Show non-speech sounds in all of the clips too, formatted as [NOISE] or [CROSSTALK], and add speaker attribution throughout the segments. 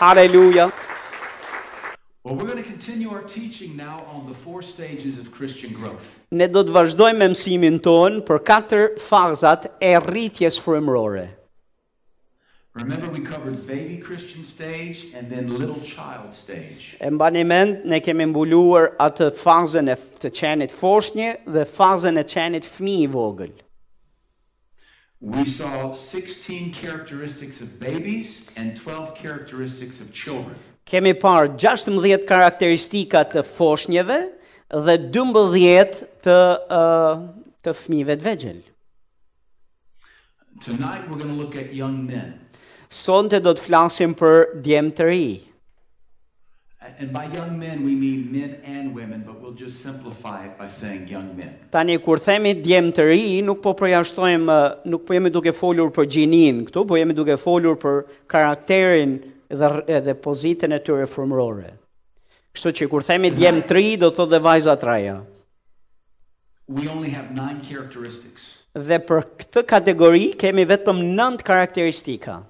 Speaker 1: Hallelujah.
Speaker 2: Well, we're going to continue our teaching now on the four stages of Christian growth.
Speaker 1: Ne do të vazhdojmë me mësimin ton për katër fazat e rritjes frymërore.
Speaker 2: Remember, we covered baby Christian stage and then little child stage.
Speaker 1: E mbani mend, ne kemi mbuluar atë fazën e f- të qenit foshnjë dhe fazën e qenit fëmijë i vogël.
Speaker 2: We saw 16 characteristics of babies and 12 characteristics of children.
Speaker 1: Kemi parë 16 karakteristika të foshnjëve dhe 12 të uh, të fëmijëve të vegjël.
Speaker 2: Tonight, we're going to look at young men.
Speaker 1: Sonte do të flasim për djemë të ri.
Speaker 2: And by young men, we mean men and women, but we'll just simplify it by saying young men.
Speaker 1: Tani kur themi djem të ri, nuk po përjashtojmë, ë, nuk po jemi duke folur për gjinin këtu, po jemi duke folur për karakterin dhe rr- edhe pozitën e tyre frymërore. Kështu që kur themi djem të ri, do thotë dhe vajza të reja.
Speaker 2: We only have nine characteristics.
Speaker 1: Dhe për këtë kategori kemi vetëm 9 karakteristika.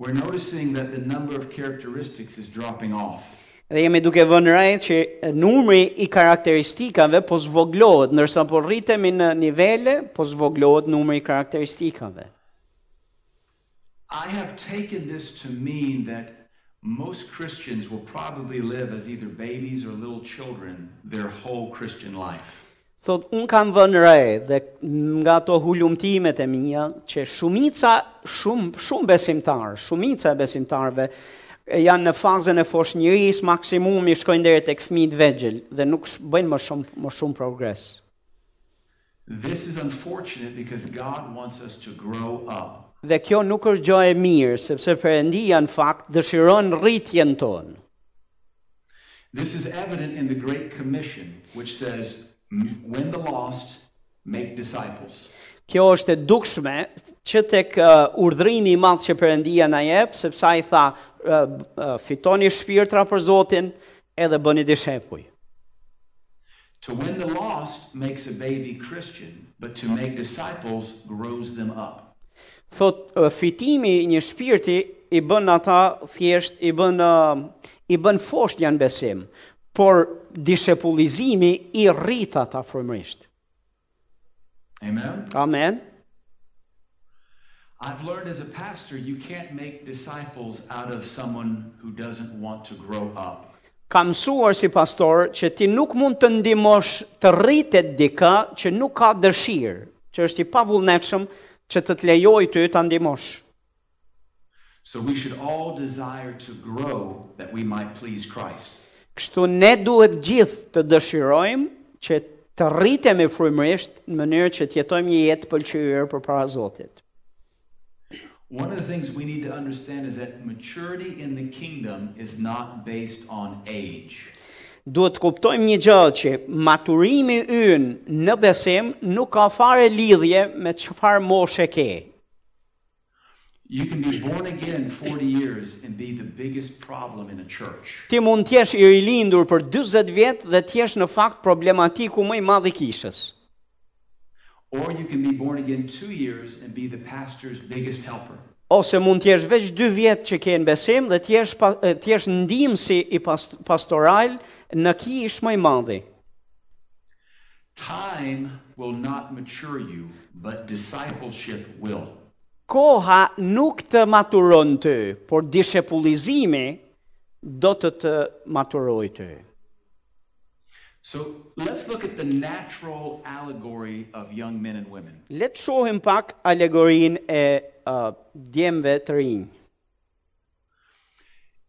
Speaker 2: We're noticing that the number of characteristics is dropping off.
Speaker 1: Dhe jemi duke vënë re që numri i karakteristikave po zvoglohet, ndërsa po rritemi në nivele, po zvoglohet numri i karakteristikave.
Speaker 2: I have taken this to mean that most Christians will probably live as either babies or little children their whole Christian life.
Speaker 1: Thot, unë kam vënë re dhe nga ato hulumtimet e mia që shumica, shumë, shumë besimtarë, shumica e besimtarëve e janë në fazën e foshnjërisë maksimumi shkojnë deri tek fëmijët vegjël dhe nuk sh- bëjnë më shumë më shumë progres.
Speaker 2: This is unfortunate because God wants us to grow up.
Speaker 1: Dhe kjo nuk është gjë e mirë, sepse Perëndia në fakt dëshiron rritjen tonë.
Speaker 2: This is evident in the Great Commission, which says, "M- Win the lost, make disciples.
Speaker 1: Kjo është e dukshme që tek uh, urdhrimi i madh që Perëndia na jep, sepse ai tha, uh, uh, fitoni shpirtra për Zotin edhe bëni dishepuj.
Speaker 2: To win the lost makes a baby Christian, but to make disciples grows them up.
Speaker 1: Thot ë, fitimi i një shpirti i bën ata thjesht i bën ë, i bën foshnjë në besim, por dishepullizimi i rrit ata frymërisht.
Speaker 2: Amen?
Speaker 1: Amen.
Speaker 2: I've learned as a pastor, you can't make disciples out of someone who doesn't want to grow up.
Speaker 1: Ka mësuar si pastor që ti nuk mund të ndihmosh të rritet dika që nuk ka dëshirë, që është i pavullnetshëm që të të lejoj ty ta ndihmosh.
Speaker 2: So we should all desire to grow that we might please Christ.
Speaker 1: Kështu ne duhet gjithë të dëshirojmë që të rritemi frymërisht në mënyrë që të jetojmë një jetë pëlqyer përpara Zotit.
Speaker 2: One of the things we need to understand is that maturity in the kingdom is not based on age.
Speaker 1: duhet të kuptojmë një gjë që maturimi ynë në besim nuk ka fare lidhje me çfarë moshe ke.
Speaker 2: You can be born again 40 years and be the biggest problem in a church.
Speaker 1: Ti mund të jesh i rilindur për 40 vjet dhe të jesh në fakt problematiku më i madh i kishës.
Speaker 2: Or you can be born again two years and be the pastor's biggest helper.
Speaker 1: Ose mund të jesh veç 2 vjet që ke në besim dhe të jesh pa- të jesh ndihmësi i pas- pastoral në kish më i madhi.
Speaker 2: Time will not mature you, but discipleship will.
Speaker 1: Koha nuk të maturon ty, por dishepullizimi do të të maturoj ty.
Speaker 2: So let's look at the natural allegory of young men and women.
Speaker 1: Le të shohim pak alegorin e uh, djemve të rinj.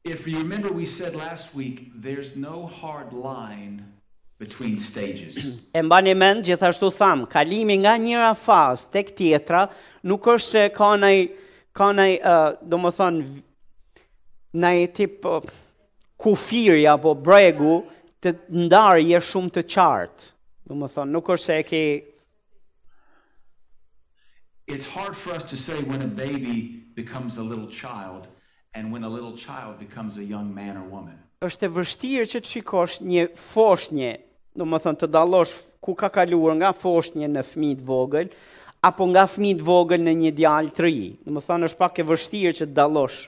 Speaker 2: If you remember, we said last week there's no hard line between stages. [CLEARS THROAT]
Speaker 1: E mbani mend gjithashtu tham, kalimi nga njëra fazë tek tjetra nuk është se ka ndaj ka ndaj uh, domethën ndaj tip uh, kufiri apo bregu të ndarje shumë të qartë. Domethën nuk është se e ke
Speaker 2: it's hard for us to say when a baby becomes a little child and when a little child becomes a young man or woman.
Speaker 1: është e vështirë që të shikosh një foshnje, do më thënë të dalosh ku ka kaluar nga foshnje në fëmijë të vogël, apo nga fëmijë të vogël në një djalë të ri. Do më thënë është pak e vështirë që të dalosh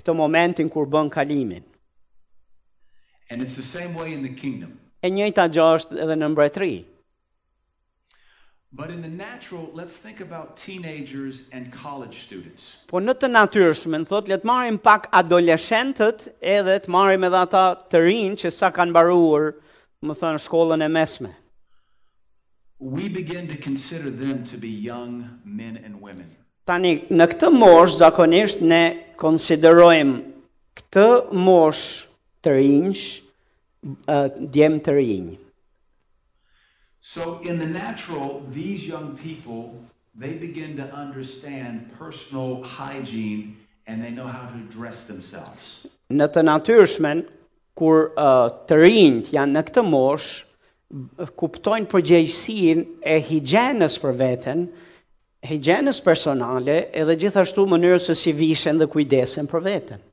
Speaker 1: këtë momentin kur bën kalimin.
Speaker 2: And it's the same way in the kingdom.
Speaker 1: E njëjta gjë është edhe në mbretëri.
Speaker 2: But in the natural, let's think about teenagers and college students.
Speaker 1: Po në të natyrshmen, thot, le të marrim pak adoleshentët edhe të marrim edhe ata të rinj që sa kanë mbaruar, më thënë, shkollën e mesme.
Speaker 2: We begin to consider them to be young men and women.
Speaker 1: Tani, në këtë mosh, zakonisht, ne konsiderojmë këtë mosh të rinjsh, ë, djemë të rinj.
Speaker 2: So in the natural, these young people, they begin to understand personal hygiene and they know how to dress themselves.
Speaker 1: Në të natyrshmen, kur ë, të rinjt janë në këtë mosh, b- kuptojnë përgjegjësinë e higjienës për veten, higjienës personale, edhe gjithashtu mënyrës se si vishen dhe kujdesen për veten.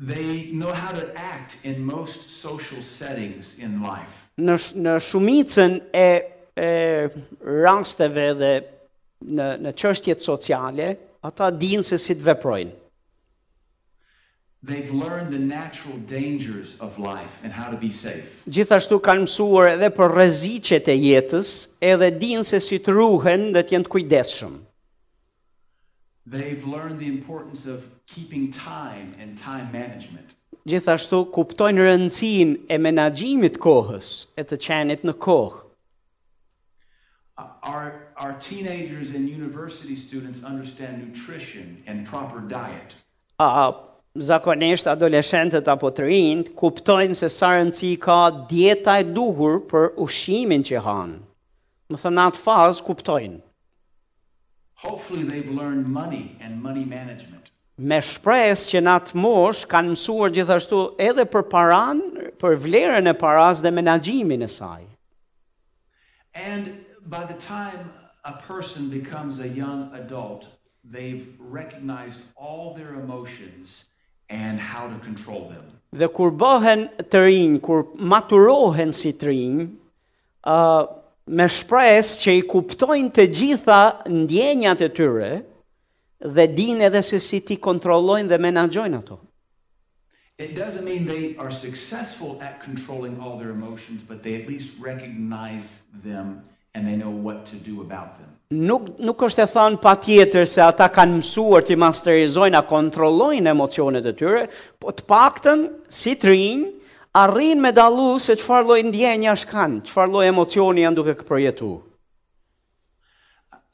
Speaker 2: They know how to act in most social settings in life.
Speaker 1: në sh- në shumicën e e rasteve dhe në në çështjet sociale, ata dinë se si të veprojnë.
Speaker 2: They've learned the natural dangers of life and how to be safe.
Speaker 1: Gjithashtu kanë mësuar edhe për rreziqet e jetës, edhe dinë se si të ruhen dhe të jenë të kujdesshëm.
Speaker 2: They've learned the importance of keeping time and time management.
Speaker 1: Gjithashtu kuptojnë rëndësinë e menaxhimit të kohës, e të qenit në kohë.
Speaker 2: Our, our teenagers and university students understand nutrition and proper diet.
Speaker 1: A, a zakonisht adoleshentët apo të rinjt kuptojnë se sa rëndësi ka dieta e duhur për ushqimin që hanë. Më thënë në atë fazë kuptojnë.
Speaker 2: Hopefully, they've learned money and money management.
Speaker 1: Me shpresë që në atë mosh kanë mësuar gjithashtu edhe për paran, për vlerën e paras dhe menaxhimin e saj.
Speaker 2: And by the time a person becomes a young adult, they've recognized all their emotions and how to control them.
Speaker 1: Dhe kur bëhen të rinj, kur maturohen si të rinj, ë me shpresë që i kuptojnë të gjitha ndjenjat e tyre dhe dinë edhe se si ti kontrollojnë dhe menaxhojnë ato.
Speaker 2: It doesn't mean they are successful at controlling all their emotions, but they at least recognize them and they know what to do about them.
Speaker 1: Nuk nuk është e thënë patjetër se ata kanë mësuar të masterizojnë, a kontrollojnë emocionet e tyre, po të paktën si të rinj arrin me dallu se çfarë lloj ndjenjash kanë, çfarë lloj emocioni janë duke përjetuar.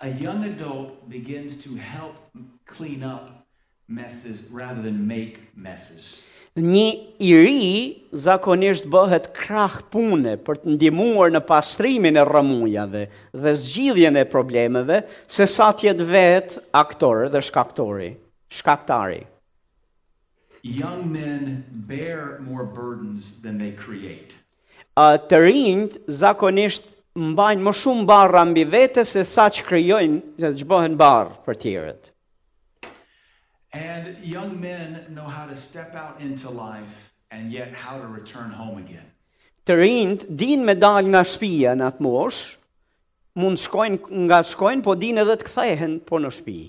Speaker 2: A young adult begins to help clean up messes rather than make messes.
Speaker 1: Një i ri zakonisht bëhet krah pune për të ndihmuar në pastrimin e rrëmujave dhe zgjidhjen e problemeve, se sa të jetë vetë aktor dhe shkaktori, shkaktari.
Speaker 2: Young men bear more burdens than they create.
Speaker 1: A, të rinjt zakonisht mbajnë më shumë barra mbi vete se sa që kryojnë që të gjbohen barë për tjerët.
Speaker 2: And young men know how to step out into life and yet how to return home again.
Speaker 1: Të rinjt din me dal nga shpia në atë mosh, mund shkojnë nga shkojnë, po din edhe të kthehen po në shtëpi.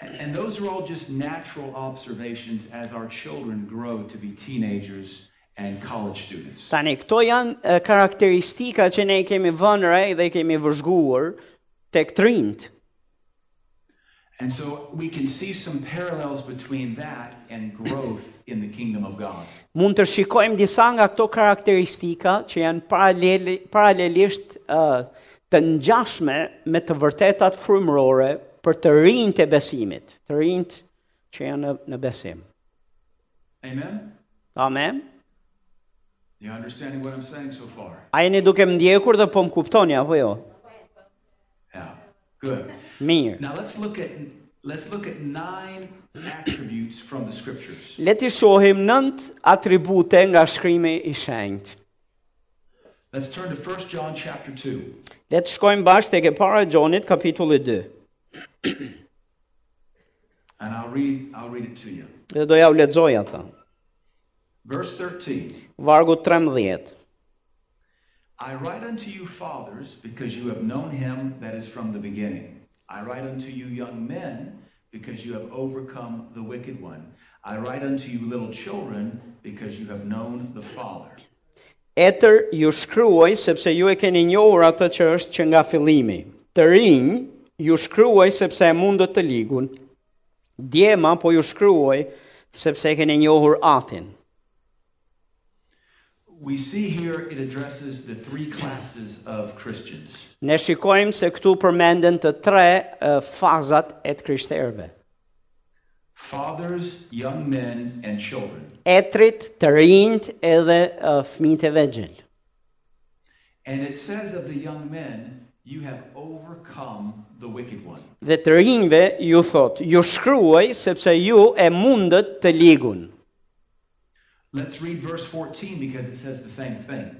Speaker 2: And those are all just natural observations as our children grow to be teenagers and college students.
Speaker 1: Tani, këto janë e, karakteristika që ne i kemi vënë re dhe i kemi vëzhguar tek të rinjt.
Speaker 2: And so we can see some parallels between that and growth in the kingdom of God.
Speaker 1: Mund të shikojmë disa nga këto karakteristika që janë paraleli, paralelisht uh, të ngjashme me të vërtetat frymërore për të rinjt e besimit, të rinjt që janë në, në besim.
Speaker 2: Amen?
Speaker 1: Amen.
Speaker 2: You understanding what I'm saying so far?
Speaker 1: A jeni duke më ndjekur dhe po më kuptoni apo jo?
Speaker 2: Yeah. Good.
Speaker 1: Mirë.
Speaker 2: Now let's look at let's look at nine attributes from the scriptures.
Speaker 1: Le të shohim nënt atribute nga shkrimi i shenjtë.
Speaker 2: Let's turn to 1 John chapter 2.
Speaker 1: Le të shkojmë bashkë tek e para e Gjonit kapitulli 2.
Speaker 2: And I'll read I'll read it to you.
Speaker 1: Dhe doja u lexoj ata.
Speaker 2: Verse 13.
Speaker 1: Vargu 13.
Speaker 2: I write unto you fathers because you have known him that is from the beginning. I write unto you young men because you have overcome the wicked one. I write unto you, little children, because you have known the Father.
Speaker 1: Etër ju shkruaj sepse ju e keni njohur atë që është që nga fillimi. Të rinj ju shkruaj sepse e mundët të ligun. Djema po ju shkruaj sepse e keni njohur atin.
Speaker 2: We see here it addresses the three classes of Christians.
Speaker 1: Ne shikojmë se këtu përmenden të tre e, fazat e të krishterëve.
Speaker 2: Fathers, young men, and children.
Speaker 1: Etrit, të rinjt edhe e, fëmijët e vegjël.
Speaker 2: And it says of the young men, you have overcome the wicked one.
Speaker 1: Dhe të rinjve ju thot, ju shkruaj sepse ju e mundët të ligun.
Speaker 2: Let's read verse 14 because it says the same thing.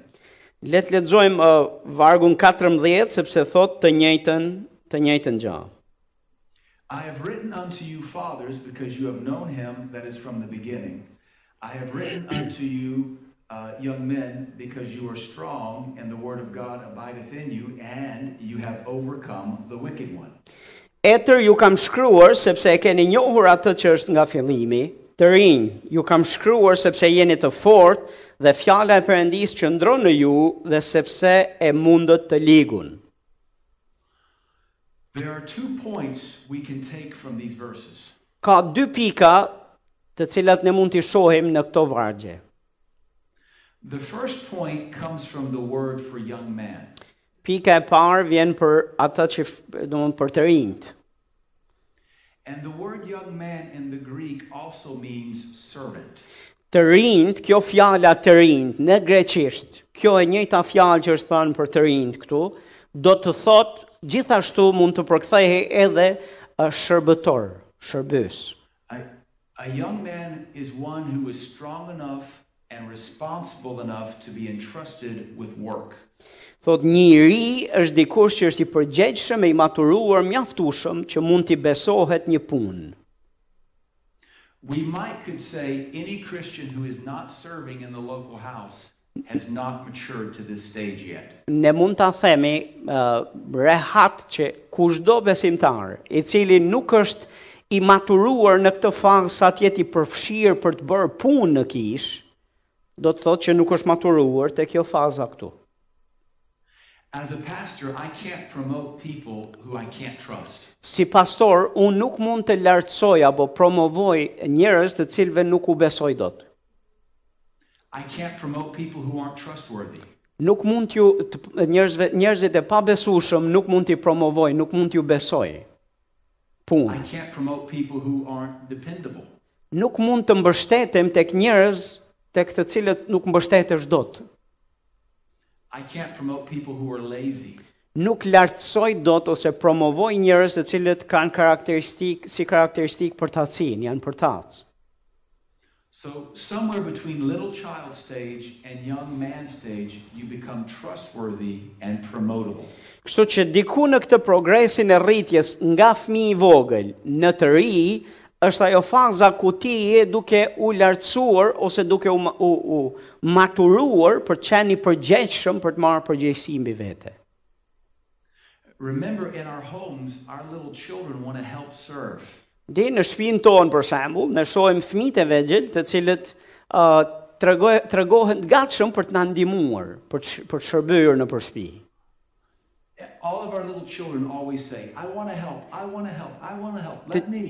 Speaker 1: Le të lexojmë ë, vargun 14 sepse thot të njëjtën, të njëjtën gjë.
Speaker 2: I have written unto you, fathers, because you have known him that is from the beginning. I have written unto you, uh, young men, because you are strong, and the word of God abideth in you, and you have overcome the wicked one.
Speaker 1: Etër ju kam shkruar sepse e keni njohur atë që është nga fillimi. Të rinj, ju kam shkruar sepse jeni të fortë dhe fjala e Perëndisë qëndron në ju dhe sepse e mundët të ligun.
Speaker 2: There are two points we can take from these verses.
Speaker 1: Ka dy pika të cilat ne mund t'i shohim në këto vargje.
Speaker 2: The first point comes from the word for young man.
Speaker 1: Pika e parë vjen për ata që, f- domthonjë për të rinjt.
Speaker 2: And the word young man in the Greek also means servant.
Speaker 1: Të rinjt, kjo fjala të rinjt në greqisht, kjo e njëjta fjalë që është thënë për të rinjt këtu, do të thotë gjithashtu mund të përkthehej edhe ë, shërbëtor, shërbës.
Speaker 2: A, a young man is one who is strong enough and responsible enough to be entrusted with work.
Speaker 1: Thot një ri është dikush që është i përgjegjshëm e i maturuar mjaftueshëm që mund t'i besohet një punë.
Speaker 2: We might could say any Christian who is not serving in the local house has not matured to this stage yet.
Speaker 1: Ne mund ta themi uh, rehat që kushdo besimtar i cili nuk është i maturuar në këtë fazë sa të jetë i përfshirë për të bërë punë në kish, do të thotë që nuk është maturuar te kjo faza këtu.
Speaker 2: As a pastor, I can't promote people who I can't trust.
Speaker 1: Si pastor, unë nuk mund të lartësoj apo promovoj njerëz të cilëve nuk u besoj dot.
Speaker 2: I can't promote people who aren't trustworthy.
Speaker 1: Nuk mund t'ju të- njerëzve njerëzit e pabesueshëm nuk mund t'i promovoj, nuk mund t'ju besoj. Punë.
Speaker 2: I can't promote people who aren't dependable.
Speaker 1: nuk mund të mbështetem tek njerëz tek të cilët nuk mbështetesh dot.
Speaker 2: I can't promote people who are lazy.
Speaker 1: Nuk lartësoj dot ose promovoj njerëz të cilët kanë karakteristik si karakteristik për tacin, janë për tac.
Speaker 2: So, somewhere between little child stage and young man stage, you become trustworthy and promotable.
Speaker 1: Kështu që diku në këtë progresin e rritjes nga fëmi i vogël në të ri, është ajo faza ku ti je duke u lartësuar ose duke u, ma- u, u maturuar për të qenë i përgjegjshëm për të marrë përgjegjësi mbi vete.
Speaker 2: Remember, in our homes, our little children want to help serve.
Speaker 1: Dhe në shtëpinë tonë për shembull, ne shohim fëmijët e vegjël të cilët uh, tregoj- tregohen të gatshëm për të na ndihmuar, për të sh- për të shërbyer në për shtëpi.
Speaker 2: All of our little children always say, I want to help, I want to help, I want to help, let me.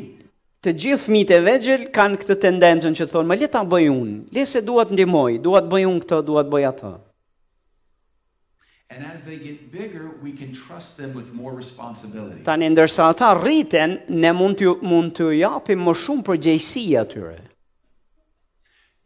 Speaker 1: Të gjithë fëmijët e vegjël kanë këtë tendencën që thonë, "Ma le ta bëj unë, le se dua të ndihmoj, dua të bëj unë këtë, dua të bëj atë."
Speaker 2: And as they get bigger, we can trust them with more responsibility.
Speaker 1: Tani ndërsa ata rriten, ne mund t'ju mund t'ju japim më shumë përgjegjësi atyre.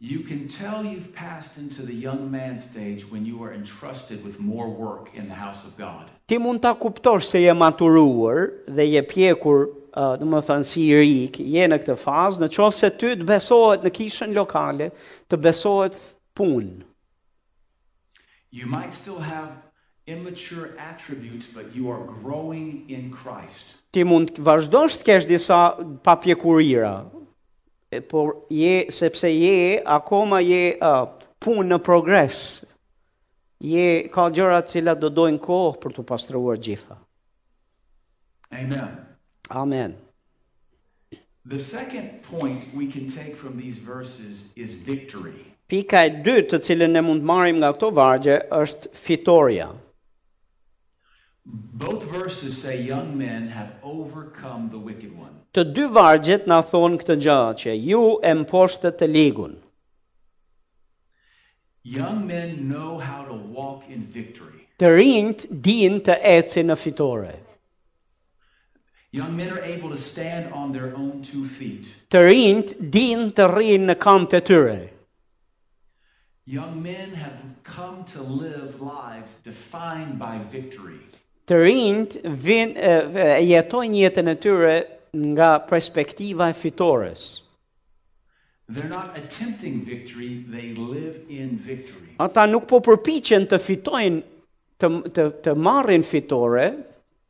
Speaker 2: You can tell you've passed into the young man stage when you are entrusted with more work in the house of God.
Speaker 1: ti mund ta kuptosh se je maturuar dhe je pjekur, uh, do të thënë si i ri, je në këtë fazë, në qoftë se ty të besohet në kishën lokale, të besohet punë.
Speaker 2: You might still have immature attributes, but you are growing in Christ.
Speaker 1: Ti mund të vazhdosh të kesh disa papjekurira, e, por je sepse je akoma je uh, punë në progres. Je ka gjëra të cilat do dojnë kohë për të pastruar gjitha.
Speaker 2: Amen.
Speaker 1: Amen.
Speaker 2: The second point we can take from these verses is victory.
Speaker 1: Pika e dytë të cilën ne mund të marrim nga këto vargje është fitoria.
Speaker 2: Both verses say young men have overcome the wicked one.
Speaker 1: Të dy vargjet na thonë këtë gjë që ju e mposhtët të ligun.
Speaker 2: Young men know how to walk in victory.
Speaker 1: Të rinjt din të ecin në fitore.
Speaker 2: Young men are able to stand on their own two feet.
Speaker 1: Të rinjt din të rrinë në kamp të tyre.
Speaker 2: Young men have come to live lives defined by victory.
Speaker 1: Të rinjt vin, e, e jetojnë jetën e tyre nga perspektiva e fitores.
Speaker 2: They're not attempting victory, they live in victory.
Speaker 1: Ata nuk po përpiqen të fitojnë të të të marrin fitore,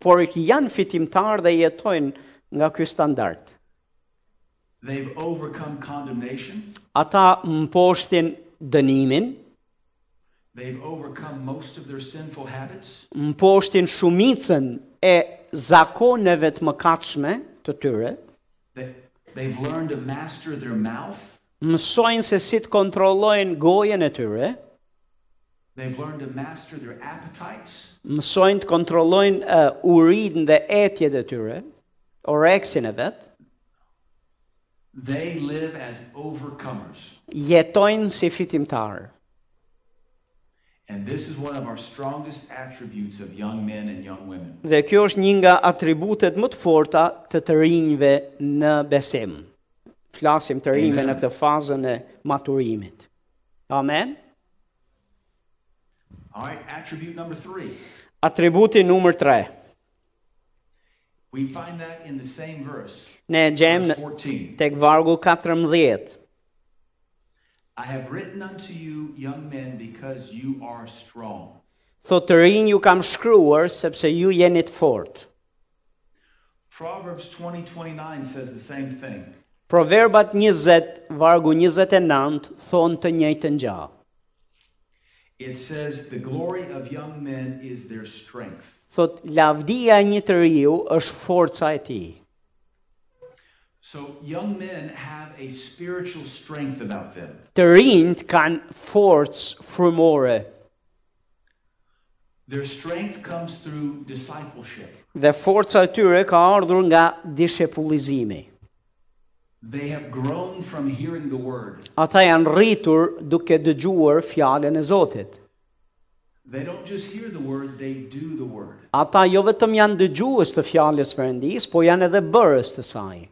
Speaker 1: por janë fitimtar dhe jetojnë nga ky standard.
Speaker 2: They've overcome condemnation,
Speaker 1: Ata mposhtin dënimin,
Speaker 2: they've overcome most of their sinful habits,
Speaker 1: mposhtin shumicën e zakoneve të mëkatshme të tyre,
Speaker 2: they, they've learned to master their mouth,
Speaker 1: mësojnë se si të kontrollojnë gojen e tyre,
Speaker 2: they've learned to master their appetites,
Speaker 1: mësojnë të kontrollojnë uh, urin dhe etjet e tyre, oreksin e vet,
Speaker 2: they live as overcomers.
Speaker 1: jetojnë si fitimtarë.
Speaker 2: And this is one of our strongest attributes of young men and young women.
Speaker 1: Dhe kjo është një nga atributet më të forta të të rinjve në besim. Flasim të rinjve
Speaker 2: Amen.
Speaker 1: në këtë fazën e maturimit. Amen.
Speaker 2: All right, attribute number three.
Speaker 1: Atributi numër 3.
Speaker 2: We find that in the same verse,
Speaker 1: Ne e gjejmë
Speaker 2: verse
Speaker 1: në-
Speaker 2: 14.
Speaker 1: tek vargu 14.
Speaker 2: I have written unto you, young men, because you are strong.
Speaker 1: Thotë të rinj ju kam shkruar sepse ju jeni të fortë.
Speaker 2: Proverbs 20 29 says the same thing.
Speaker 1: Proverbat 20, vargu 29, thonë të njëjtën gjë.
Speaker 2: It says, The glory of young men is their strength.
Speaker 1: Thot, lavdia e një të riu është forca e ti.
Speaker 2: So, young men have a spiritual strength about them.
Speaker 1: Të rinjt kanë forcë frymore
Speaker 2: Their strength comes through discipleship.
Speaker 1: dhe forca e tyre ka ardhur nga dishepullizimi.
Speaker 2: They have grown from hearing the word.
Speaker 1: Ata janë rritur duke dëgjuar fjallën e Zotit.
Speaker 2: They don't just hear the word, they do the word.
Speaker 1: Ata jo vetëm janë dëgjuës të fjallës përëndis, po janë edhe bërës të saj.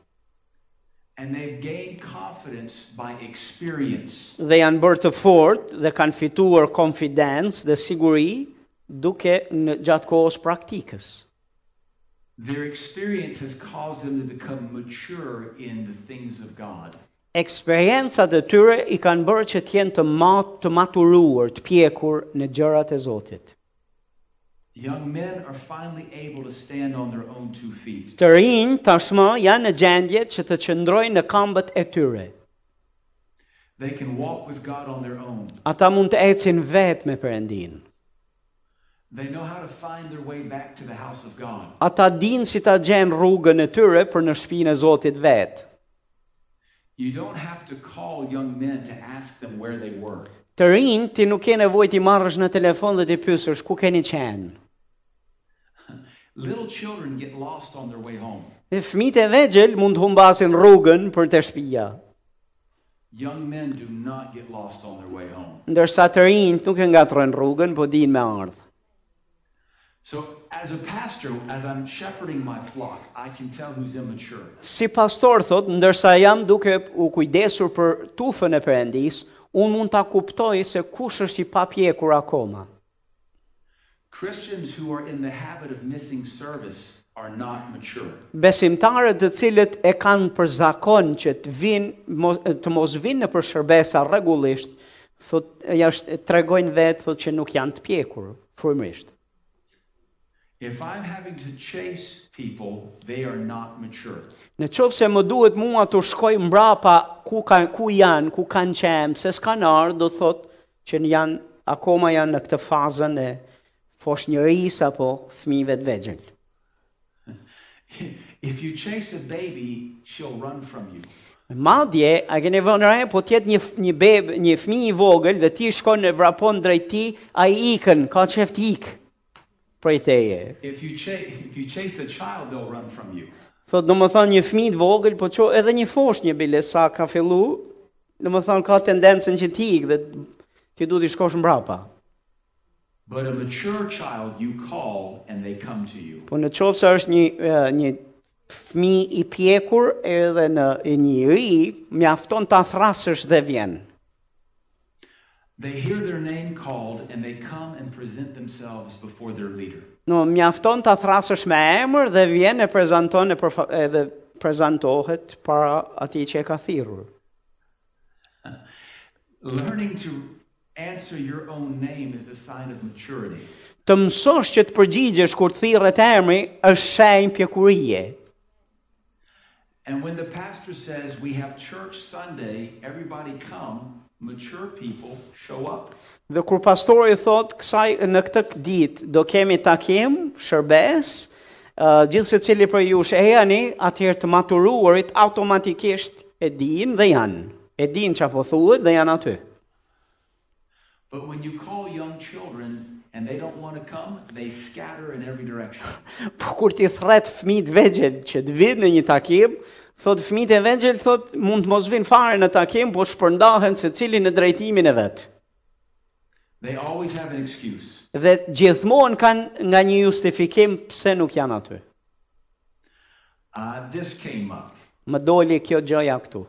Speaker 2: And they've gained confidence by experience.
Speaker 1: Dhe janë bërë të fort dhe kanë fituar konfidencë dhe siguri duke në gjatë kohës praktikës.
Speaker 2: Their experience has caused them to become mature in the things of God.
Speaker 1: Eksperiencat e tyre i kanë bërë që të jenë të mat, të maturuar, të pjekur në gjërat e Zotit.
Speaker 2: Young men are finally able to stand on their own two feet.
Speaker 1: Të rinj tashmë janë në gjendje që të qëndrojnë në këmbët e tyre.
Speaker 2: They can walk with God on their own.
Speaker 1: Ata mund të ecin vetë me Perëndin.
Speaker 2: They know how to find their way back to the house of God.
Speaker 1: Ata dinë si ta gjenë rrugën e tyre për në shtëpinë e Zotit vetë.
Speaker 2: You don't have to call young men to ask them where they were.
Speaker 1: Të rinj ti nuk ke nevojë ti marrësh në telefon dhe ti pyesësh ku keni qenë.
Speaker 2: Little children get lost on their way home.
Speaker 1: Dhe fëmijët e vegjël mund të humbasin rrugën për të shtëpia,
Speaker 2: Young men do not get lost on their way home.
Speaker 1: ndërsa të rinjt nuk e ngatrojnë rrugën, po dinë me ardh.
Speaker 2: So, as a pastor, as I'm shepherding my flock, I can tell who's immature.
Speaker 1: si pastor thot, ndërsa jam duke u kujdesur për tufën e Perëndis, unë mund ta kuptoj se kush është i papjekur akoma.
Speaker 2: Christians who are in the habit of missing service are not mature.
Speaker 1: Besimtarët të cilët e kanë për zakon që të vinë mos, të mos vinë në përshërbesa rregullisht, thot jashtë tregojnë vetë thot që nuk janë të pjekur frymërisht.
Speaker 2: If I'm having to chase people, they are not mature. [LAUGHS]
Speaker 1: Në qovë se më duhet mua të shkoj mbrapa ku, kanë, ku janë, ku kanë qenë, se s'kanë ardhë, do thot që në janë, akoma janë në këtë fazën e fosh njëris apo fmive të vegjël.
Speaker 2: If you chase a baby, she'll run from you.
Speaker 1: Madje, a keni vënë re, po tjetë një, f- një bebë, një fëmijë i vogël dhe ti shkon e vrapon drejt ti, ai ikën, ka çeft ik prej teje.
Speaker 2: If you, cha- if you chase a child, they'll run from you.
Speaker 1: Thot, do më thonë një fëmijë të vogël, po ço edhe një fosh një bile sa ka fillu, do më thonë ka tendencën që ti ik dhe ti duhet i shkosh mbrapa.
Speaker 2: But a mature child you call and they come to you.
Speaker 1: Po në qovë se është një, e, një fmi i pjekur edhe në i një ri, mjafton ta thrasësh dhe vjen.
Speaker 2: They hear their name called and they come and present themselves before their leader.
Speaker 1: No, mjafton ta thrasësh me emër dhe vjen e prezanton e përfa, edhe prezantohet para atij që e ka thirrur.
Speaker 2: Learning to answer your own name is a sign of maturity.
Speaker 1: Të mësosh që të përgjigjesh kur të thirret emri është shenjë pjekurie.
Speaker 2: And when the pastor says, We have church Sunday, everybody come, mature people show up.
Speaker 1: Dhe kur pastori thot kësaj në këtë ditë do kemi takim, shërbes, uh, gjithë se cili për ju shë jani, atëherë të maturuarit automatikisht e din dhe janë. E din që po thuhet dhe janë aty.
Speaker 2: But when you call young children and they don't want to come, they scatter in every direction.
Speaker 1: Po kur ti thret fëmijët vegjël që të vinë në një takim, thot fëmijët e vegjël thot mund të mos vinë fare në takim, po shpërndahen se cili në drejtimin e vet.
Speaker 2: They always have an excuse.
Speaker 1: Dhe gjithmonë kanë nga një justifikim pse nuk janë aty.
Speaker 2: Uh, this came up.
Speaker 1: Më doli kjo gjëja këtu.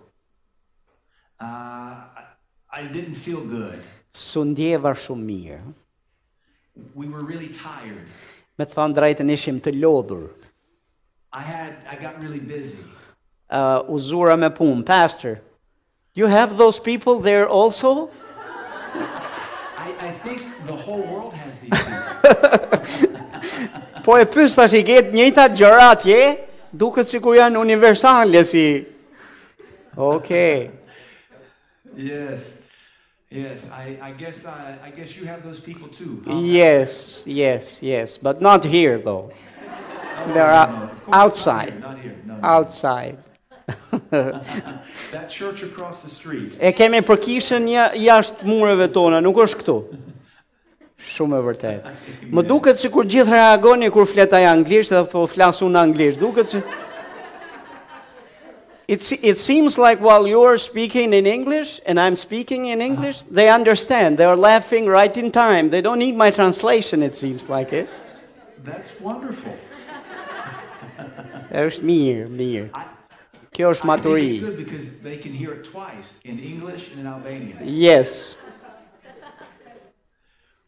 Speaker 2: Uh, I- I didn't feel good.
Speaker 1: Su ndjeva shumë mirë.
Speaker 2: We were really tired.
Speaker 1: Me të thënë drejtën ishim të lodhur.
Speaker 2: I had I got really busy.
Speaker 1: Uh, uzura me punë, pastor. You have those people there also?
Speaker 2: I, I think the whole world has these people.
Speaker 1: Po e pyes tash i get njëjta gjëra atje, duket sikur janë universale si. Okej.
Speaker 2: yes. Yes. I, I guess uh, I, I guess you have those people too. huh?
Speaker 1: Yes, yes, yes, but not here though. There
Speaker 2: No,
Speaker 1: are
Speaker 2: of course, not here,
Speaker 1: outside,
Speaker 2: Not here. No, no.
Speaker 1: outside.
Speaker 2: That church across the street.
Speaker 1: E kemi për kishën ja, jashtë mureve tona, nuk është këtu. Shumë e vërtet. Më duket si kur gjithë reagoni kur fleta e anglisht dhe po flas unë anglisht. Duket si... It, se- it seems like while you're speaking in English and I'm speaking in English, they understand. They are laughing right in time. They don't need my translation, it seems like eh? it.
Speaker 2: That's wonderful.
Speaker 1: është mirë, mirë. Kjo është
Speaker 2: I think it's
Speaker 1: maturi.
Speaker 2: good because they can hear it twice in English and in Albanian,
Speaker 1: Yes.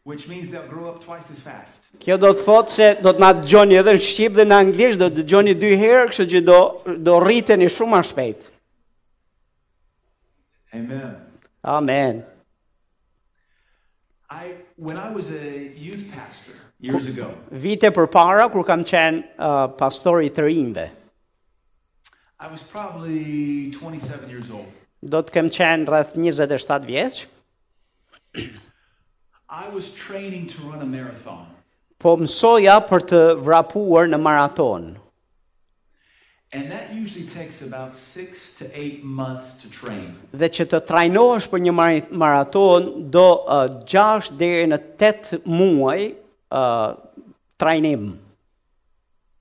Speaker 2: which means they'll grow up twice as fast.
Speaker 1: Kjo do të thotë se do të na dëgjoni edhe në shqip dhe në anglisht, do të dëgjoni dy herë, kështu që do do rriteni shumë më shpejt.
Speaker 2: Amen.
Speaker 1: Amen.
Speaker 2: I when I was a youth pastor years ago,
Speaker 1: Vite përpara kur kam qenë uh, pastor i të rinjve,
Speaker 2: I was probably 27 years old.
Speaker 1: do të kem qenë rreth 27 vjeç,
Speaker 2: I was training to run a marathon,
Speaker 1: po mësoja për të vrapuar në maraton.
Speaker 2: and that usually takes about six to eight months to train.
Speaker 1: Dhe që të trajnohesh për një mari- maraton do uh, 6 deri në 8 muaj uh, trajnim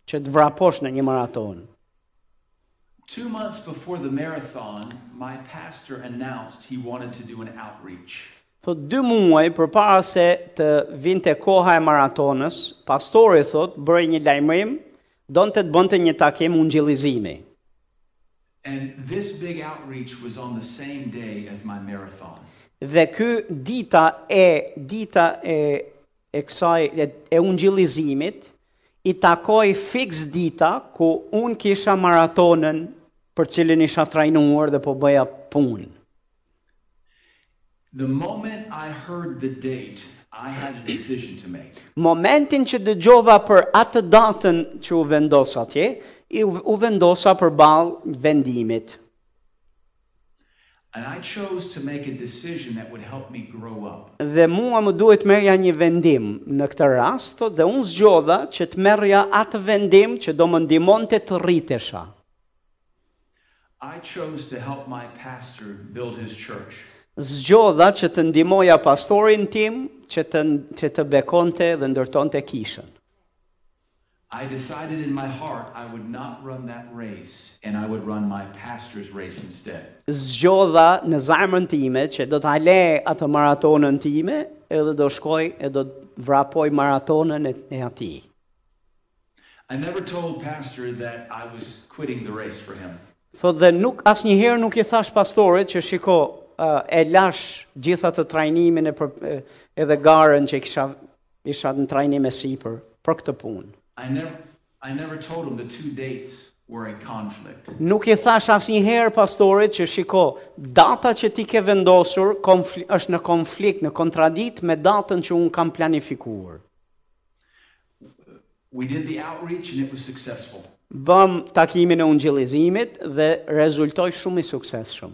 Speaker 1: që të vraposh në një maraton.
Speaker 2: Two months before the marathon, my pastor announced he wanted to do an outreach.
Speaker 1: Thot dy muaj për para se të vinte koha e maratonës, pastori thot bëri një lajmërim, donte të bënte një takim ungjillizimi.
Speaker 2: And this big outreach was on the same day as my marathon.
Speaker 1: Dhe ky dita e dita e e kësaj e, e ungjillizimit i takoi fiks dita ku un kisha maratonën për cilën isha trajnuar dhe po bëja punë.
Speaker 2: The moment I heard the date, I had a decision to make.
Speaker 1: Momentin që dëgjova për atë datën që u vendos atje, i u u vendosa për balë vendimit.
Speaker 2: And I chose to make a decision that would help me grow up.
Speaker 1: Dhe mua më duhet merja një vendim në këtë rast, thot, dhe unë zgjodha që të merja atë vendim që do më ndihmonte të rritesha.
Speaker 2: I chose to help my pastor build his church.
Speaker 1: Zgjodha që të ndihmoja pastorin tim që të që të bekonte dhe ndërtonte kishën.
Speaker 2: I decided in my heart I would not run that race and I would run my pastor's race instead.
Speaker 1: Zgjodha në zemrën time që do ta le atë maratonën time, edhe do shkoj e do të vrapoj maratonën e, e atij.
Speaker 2: I never told pastor that I was quitting the race for him.
Speaker 1: Thot dhe nuk asnjëherë nuk i thash pastorit që shiko uh, e lash gjitha të trajnimin e për, e- edhe garën që kisha isha në trajnim e sipër për këtë punë.
Speaker 2: I never I never told him the two dates were in conflict.
Speaker 1: Nuk i thash asnjëherë pastorit që shiko data që ti ke vendosur konfl- është në konflikt, në kontradikt me datën që un kam planifikuar.
Speaker 2: We did the outreach and it was successful.
Speaker 1: Bëm takimin e ungjillizimit dhe rezultoi shumë i suksesshëm.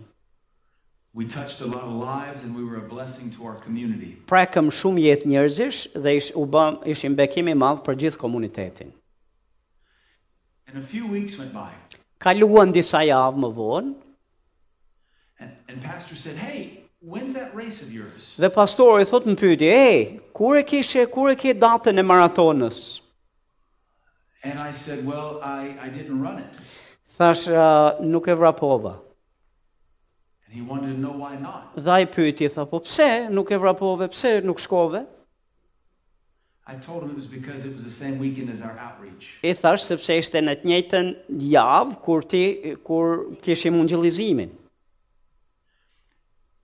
Speaker 2: We touched a lot of lives and we were a blessing to our community.
Speaker 1: Prekëm shumë jetë njerëzish dhe ish, u bëm ishim bekim i madh për gjithë komunitetin.
Speaker 2: And a few weeks went by
Speaker 1: Kaluan disa javë më vonë
Speaker 2: and, and pastor said, Hey, when's that race of yours?
Speaker 1: Dhe pastori thot më pyeti, "Ej, kur e kishe, kur e ke datën e maratonës?"
Speaker 2: And I said, Well, I, I didn't run it.
Speaker 1: Thash, "Ah, "Nuk e vrapova."
Speaker 2: And he wanted to know why not.
Speaker 1: Dhe ai pyeti, tha, "Po pse nuk e vrapove? Pse nuk shkove?"
Speaker 2: I told him it was because it was the same weekend as our outreach.
Speaker 1: I thash sepse ishte në të njëjtën javë kur ti kur kishim ungjillizimin.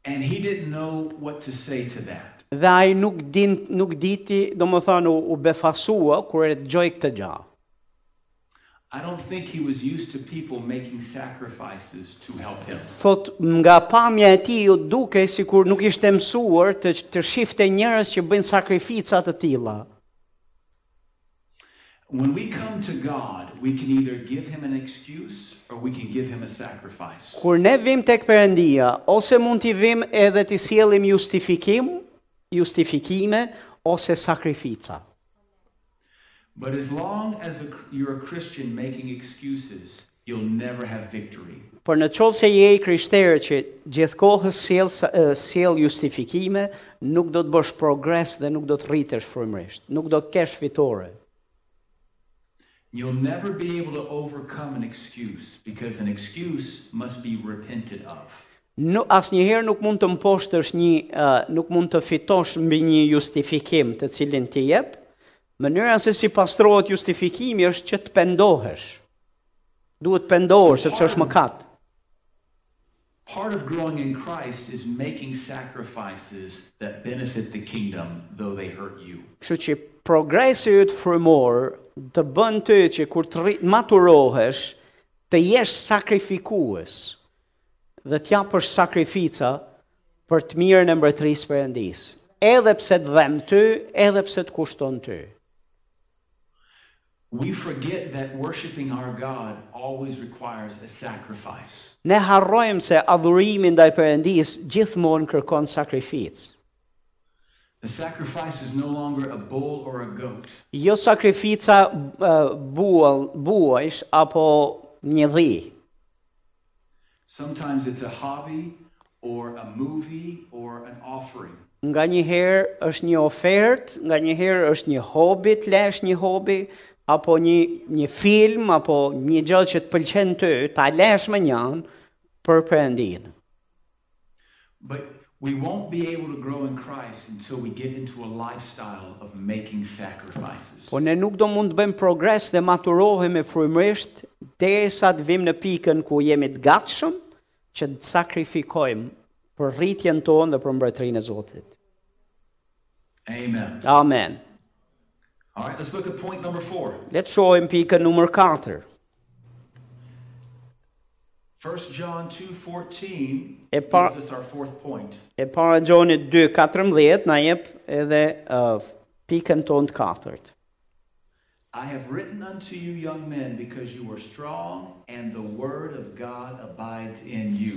Speaker 2: And he didn't know what to say to that.
Speaker 1: Dhe ai nuk din nuk diti, domethënë u, u befasua kur e dëgjoi këtë gjë.
Speaker 2: I don't think he was used to people making sacrifices to help him.
Speaker 1: Thot nga pamja e tij u dukej sikur nuk ishte mësuar të të shifte njerëz që bëjnë sakrifica të tilla.
Speaker 2: When we come to God, we can either give him an excuse or we can give him a sacrifice.
Speaker 1: Kur ne vim tek Perëndia, ose mund t'i vim edhe t'i sjellim justifikim, justifikime ose sakrifica.
Speaker 2: But as long as a, you're a Christian making excuses, you'll never have victory.
Speaker 1: Por në qovë se je i krishterë që gjithkohës sjell sa- e, sjell justifikime, nuk do të bësh progres dhe nuk do të rritesh frymërisht, nuk do të kesh fitore.
Speaker 2: You'll never be able to overcome an excuse because an excuse must be repented of.
Speaker 1: Nuk asnjëherë nuk mund të mposhtësh një uh, nuk mund të fitosh mbi një justifikim të cilin ti jep. Mënyra se si pastrohet justifikimi është që të pendohesh. Duhet të pendohesh sepse është mëkat.
Speaker 2: Part of growing in Christ is making sacrifices that benefit the kingdom, though they hurt you.
Speaker 1: Kështu që progresi yt frymor të bën ty që kur të rrit maturohesh, të jesh sakrifikues dhe të japësh sakrifica për të mirën e mbretërisë perëndis. Edhe pse të dhem ty, edhe pse të kushton ty.
Speaker 2: We forget that worshiping our God always requires a sacrifice.
Speaker 1: Ne harrojmë se adhurimi ndaj Perëndis gjithmonë kërkon sakrificë.
Speaker 2: The sacrifice is no longer a bull or a goat.
Speaker 1: Jo sakrifica eh, buall, buajsh apo një dhi.
Speaker 2: Sometimes it's a hobby or a movie or an offering.
Speaker 1: Nga një herë është një ofertë, nga një herë është një hobi, të lesh një hobi, apo një, një film, apo një gjë që të pëlqen ty, ta lesh me njën për përëndin.
Speaker 2: But we won't be able to grow in Christ until we get into a lifestyle of making sacrifices.
Speaker 1: Po ne nuk do mund të bëjmë progres dhe maturohemi frymërisht derisa të vim në pikën ku jemi të gatshëm që të sakrifikojmë për rritjen tonë dhe për mbretërinë e Zotit.
Speaker 2: Amen.
Speaker 1: Amen.
Speaker 2: All right, let's look at point number four.
Speaker 1: Le të shohim pikën numër 4.
Speaker 2: 1 John 2:14
Speaker 1: E pa-
Speaker 2: gives us our fourth point.
Speaker 1: E para Gjonit 2:14 na jep edhe uh, pikën tonë të katërt.
Speaker 2: I have written unto you young men because you are strong and the word of God abides in you.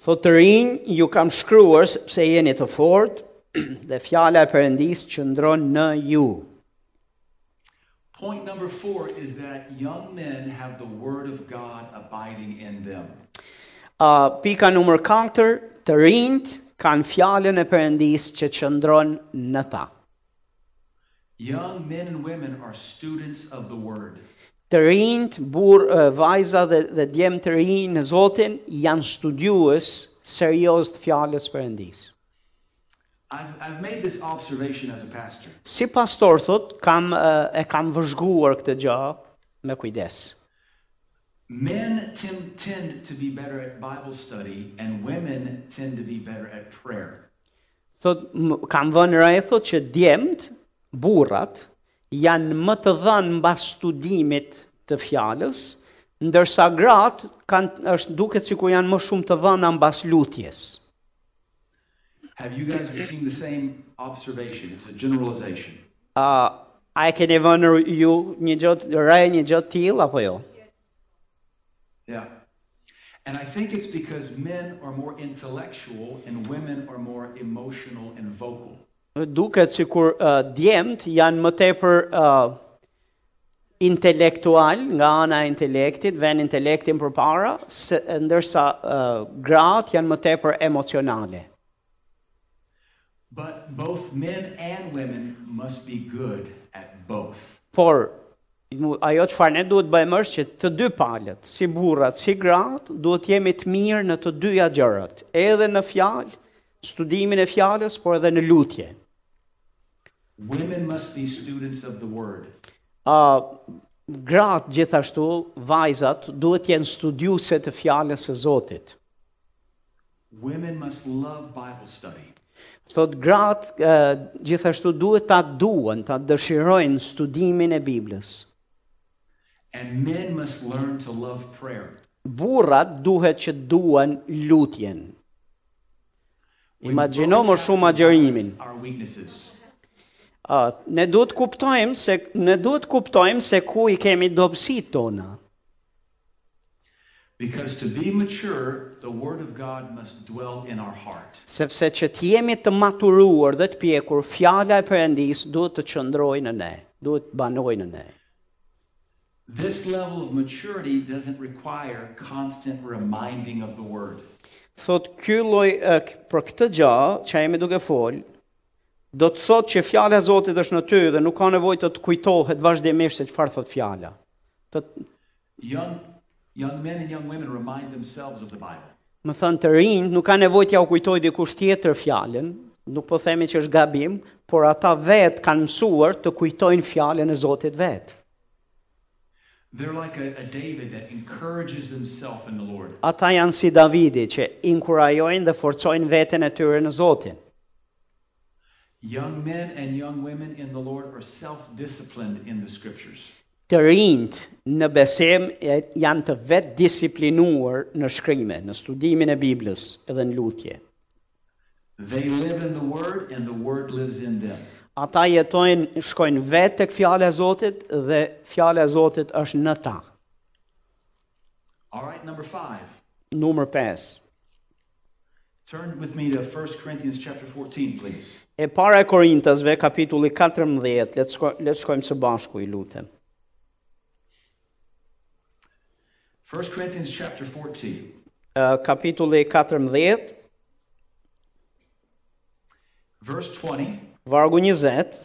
Speaker 1: Thot të rinj ju kam shkruar sepse jeni të fortë [CLEARS THROAT] dhe fjala e Perëndis qëndron në ju.
Speaker 2: Point number four is that young men have the Word of God abiding in them.
Speaker 1: Uh, pika numër 4, të rinjt kanë fjalën e Perëndis që qëndron në ta.
Speaker 2: Young men and women are students of the Word.
Speaker 1: Të rinjt, burr, uh, vajza dhe dhe djem të rinj në Zotin janë studiues serioz të fjalës Perëndis.
Speaker 2: I've, I've made this observation as a pastor.
Speaker 1: Si pastor thot, kam uh, e kam vëzhguar këtë gjë me kujdes.
Speaker 2: Men tem- tend to be better at Bible study, and women tend to be better at prayer.
Speaker 1: Thot m- kam vënë re thot që djemt, burrat janë më të dhënë mbas studimit të fjalës, ndërsa gratë kanë është duket sikur janë më shumë të dhëna mbas lutjes.
Speaker 2: Have you guys seen the same observation? It's a generalization.
Speaker 1: A a e keni vënë r- ju një gjë t- re, një gjë të tillë apo jo?
Speaker 2: Yeah. And I think it's because men are more intellectual and women are more emotional and vocal.
Speaker 1: Duket sikur uh, djemt janë më tepër uh, intelektual nga ana e intelektit, vënë intelektin përpara, se, ndërsa uh, gratë janë më tepër emocionale.
Speaker 2: But both men and women must be good at both.
Speaker 1: Por mu- ajo çfarë ne duhet bëjmë është që të dy palët, si burrat, si gratë, duhet jemi të mirë në të dyja gjërat, edhe në fjalë, studimin e fjalës, por edhe në lutje.
Speaker 2: Women must be students of the word.
Speaker 1: Ë gratë gjithashtu, vajzat duhet jenë studiuese të fjalës së Zotit.
Speaker 2: Women must love Bible study.
Speaker 1: Thot gratë ë, gjithashtu duhet ta duan, ta dëshirojnë studimin e Biblës.
Speaker 2: And men must learn to love prayer.
Speaker 1: Burrat duhet që duan lutjen.
Speaker 2: We
Speaker 1: Imagjino
Speaker 2: both
Speaker 1: më
Speaker 2: have
Speaker 1: shumë
Speaker 2: to
Speaker 1: agjërimin.
Speaker 2: balance Our weaknesses.
Speaker 1: A, ne duhet kuptojmë se ne duhet kuptojmë se ku i kemi dobësitë tona.
Speaker 2: Because to be mature, the word of God must dwell in our heart.
Speaker 1: Sepse që të jemi të maturuar dhe të pjekur, fjala e Perëndis duhet të qëndrojë në ne, duhet të banojë në ne.
Speaker 2: This level of maturity doesn't require constant reminding of the word.
Speaker 1: Thot ky lloj e, k- për këtë gjë që jemi duke fol, do të thotë që fjala e Zotit është në ty dhe nuk ka nevojë të të kujtohet vazhdimisht se çfarë thot fjala. Të
Speaker 2: Young, young men and young women remind themselves of the Bible.
Speaker 1: më thënë të rinjë, nuk ka nevojë t'ja u kujtoj dikush tjetër fjalën, nuk po themi që është gabim, por ata vetë kanë mësuar të kujtojnë fjalën e Zotit vetë.
Speaker 2: They're like a, a David that encourages himself in the Lord.
Speaker 1: Ata janë si Davidi që inkurajojnë dhe forcojnë veten e tyre në Zotin.
Speaker 2: Young men and young women in the Lord are self disciplined in the scriptures.
Speaker 1: Të rinjt në besim e- janë të vetë disiplinuar në shkrime, në studimin e Biblës edhe në lutje.
Speaker 2: They live in the word, and the word lives in them.
Speaker 1: Ata jetojnë, shkojnë vetë tek fjala e Zotit dhe fjala e Zotit është në ta.
Speaker 2: All right, number five.
Speaker 1: Numër 5.
Speaker 2: Turn with me to 1 Corinthians chapter 14, please.
Speaker 1: E para e Korintasve, kapitulli 14, letë shko, let shkojmë së bashku i lutem.
Speaker 2: 1 Corinthians chapter 14.
Speaker 1: Uh, kapitulli 14,
Speaker 2: Verse 20,
Speaker 1: vargu 20,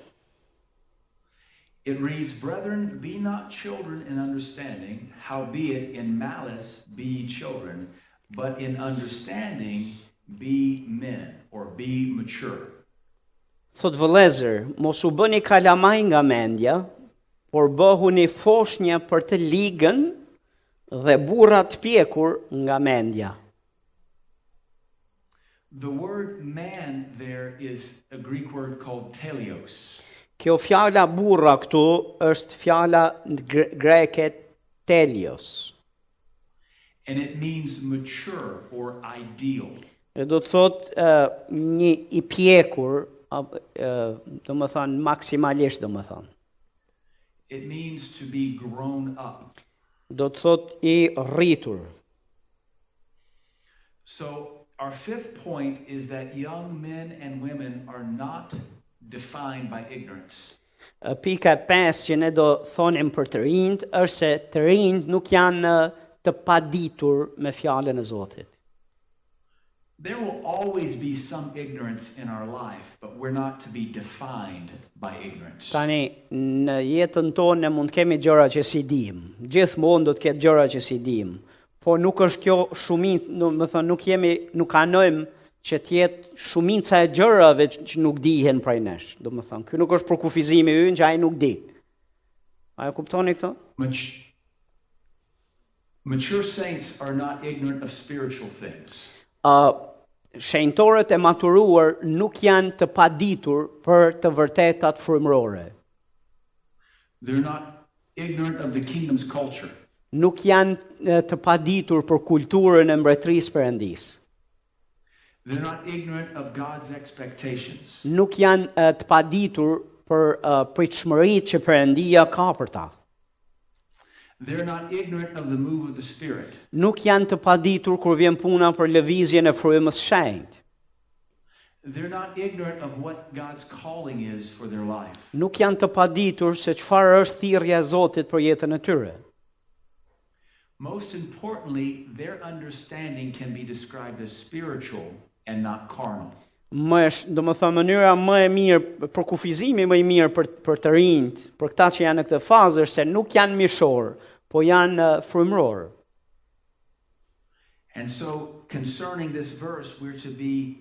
Speaker 2: it reads, Brethren, be not children in understanding, howbeit in malice be ye children, but in understanding be men, or be mature.
Speaker 1: thot vëlezër, mos u bëni kalamaj nga mendja, por bëhu një foshnja për të ligën dhe burrat pjekur nga mendja.
Speaker 2: The word man there is a Greek word called teleos.
Speaker 1: Kjo fjala burra këtu është fjala në gre- greke telios.
Speaker 2: and it means mature or ideal.
Speaker 1: E do të thot uh, një i pjekur, uh, do më thanë maksimalisht do më thanë.
Speaker 2: It means to be grown up.
Speaker 1: do të thot i rritur.
Speaker 2: So Our fifth point is that young men and women are not defined by ignorance.
Speaker 1: Ë, Pika e pesë që ne do thonim për të rinjt është se të rinjt nuk janë ë, të paditur me fjalën e Zotit.
Speaker 2: There will always be some ignorance in our life, but we're not to be defined by ignorance.
Speaker 1: Tani në jetën tonë ne mund të kemi gjëra që si dim. Gjithmonë do të ketë gjëra që si dim. Po nuk është kjo shumit, do të thonë nuk jemi nuk anojmë që të jetë shumica e gjërave që që nuk dihen prej nesh. Do të thonë, ky nuk është për kufizimi ynë që ai nuk di. A e kuptoni këtë?
Speaker 2: Mat- Mature saints are not ignorant of spiritual things.
Speaker 1: Uh, shenjtorët e maturuar nuk janë të paditur për të vërtetat frymërore.
Speaker 2: They're not ignorant of the kingdom's culture.
Speaker 1: Nuk janë e, të paditur për kulturën e mbretërisë perëndis.
Speaker 2: They're not ignorant of God's expectations.
Speaker 1: Nuk janë e, të paditur për uh, pritshmëritë që Perëndia ka për ta.
Speaker 2: They're not ignorant of the move of the Spirit.
Speaker 1: Nuk janë të paditur kur vjen puna për lëvizjen e frymës shenjtë.
Speaker 2: They're not ignorant of what God's calling is for their life.
Speaker 1: Nuk janë të paditur se çfarë është thirrja e Zotit për jetën e tyre.
Speaker 2: Most importantly, their understanding can be described as spiritual and not carnal.
Speaker 1: më është, do më thënë, mënyra më e mirë, për kufizimi më i mirë për, për të rinjt, për këta që janë në këtë fazë, është se nuk janë mishorë, po janë uh, frymërorë.
Speaker 2: And so, concerning this verse, we're to be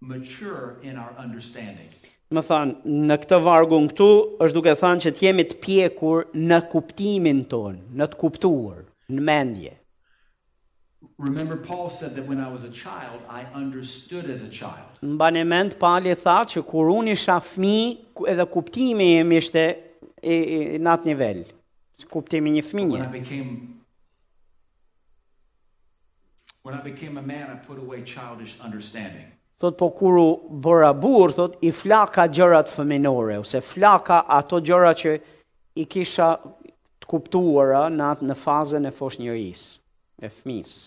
Speaker 2: mature in our understanding.
Speaker 1: Më thënë, në këtë vargun këtu, është duke thënë që të jemi të pjekur në kuptimin tonë, në të kuptuar, në mendje.
Speaker 2: Remember, Paul said that when I was a child, I understood as a child.
Speaker 1: Në banë mend, pali tha që kur unë isha fmi, edhe kuptimi im ishte i, i, i në atë nivel. Kuptimi një
Speaker 2: When
Speaker 1: fëmije.
Speaker 2: I became when I became a man, I put away childish understanding.
Speaker 1: Thot po kur u bëra burr, thot i flaka gjërat fëminore ose flaka ato gjëra që i kisha të kuptuara në atë në fazën e foshnjërisë, e fëmisë.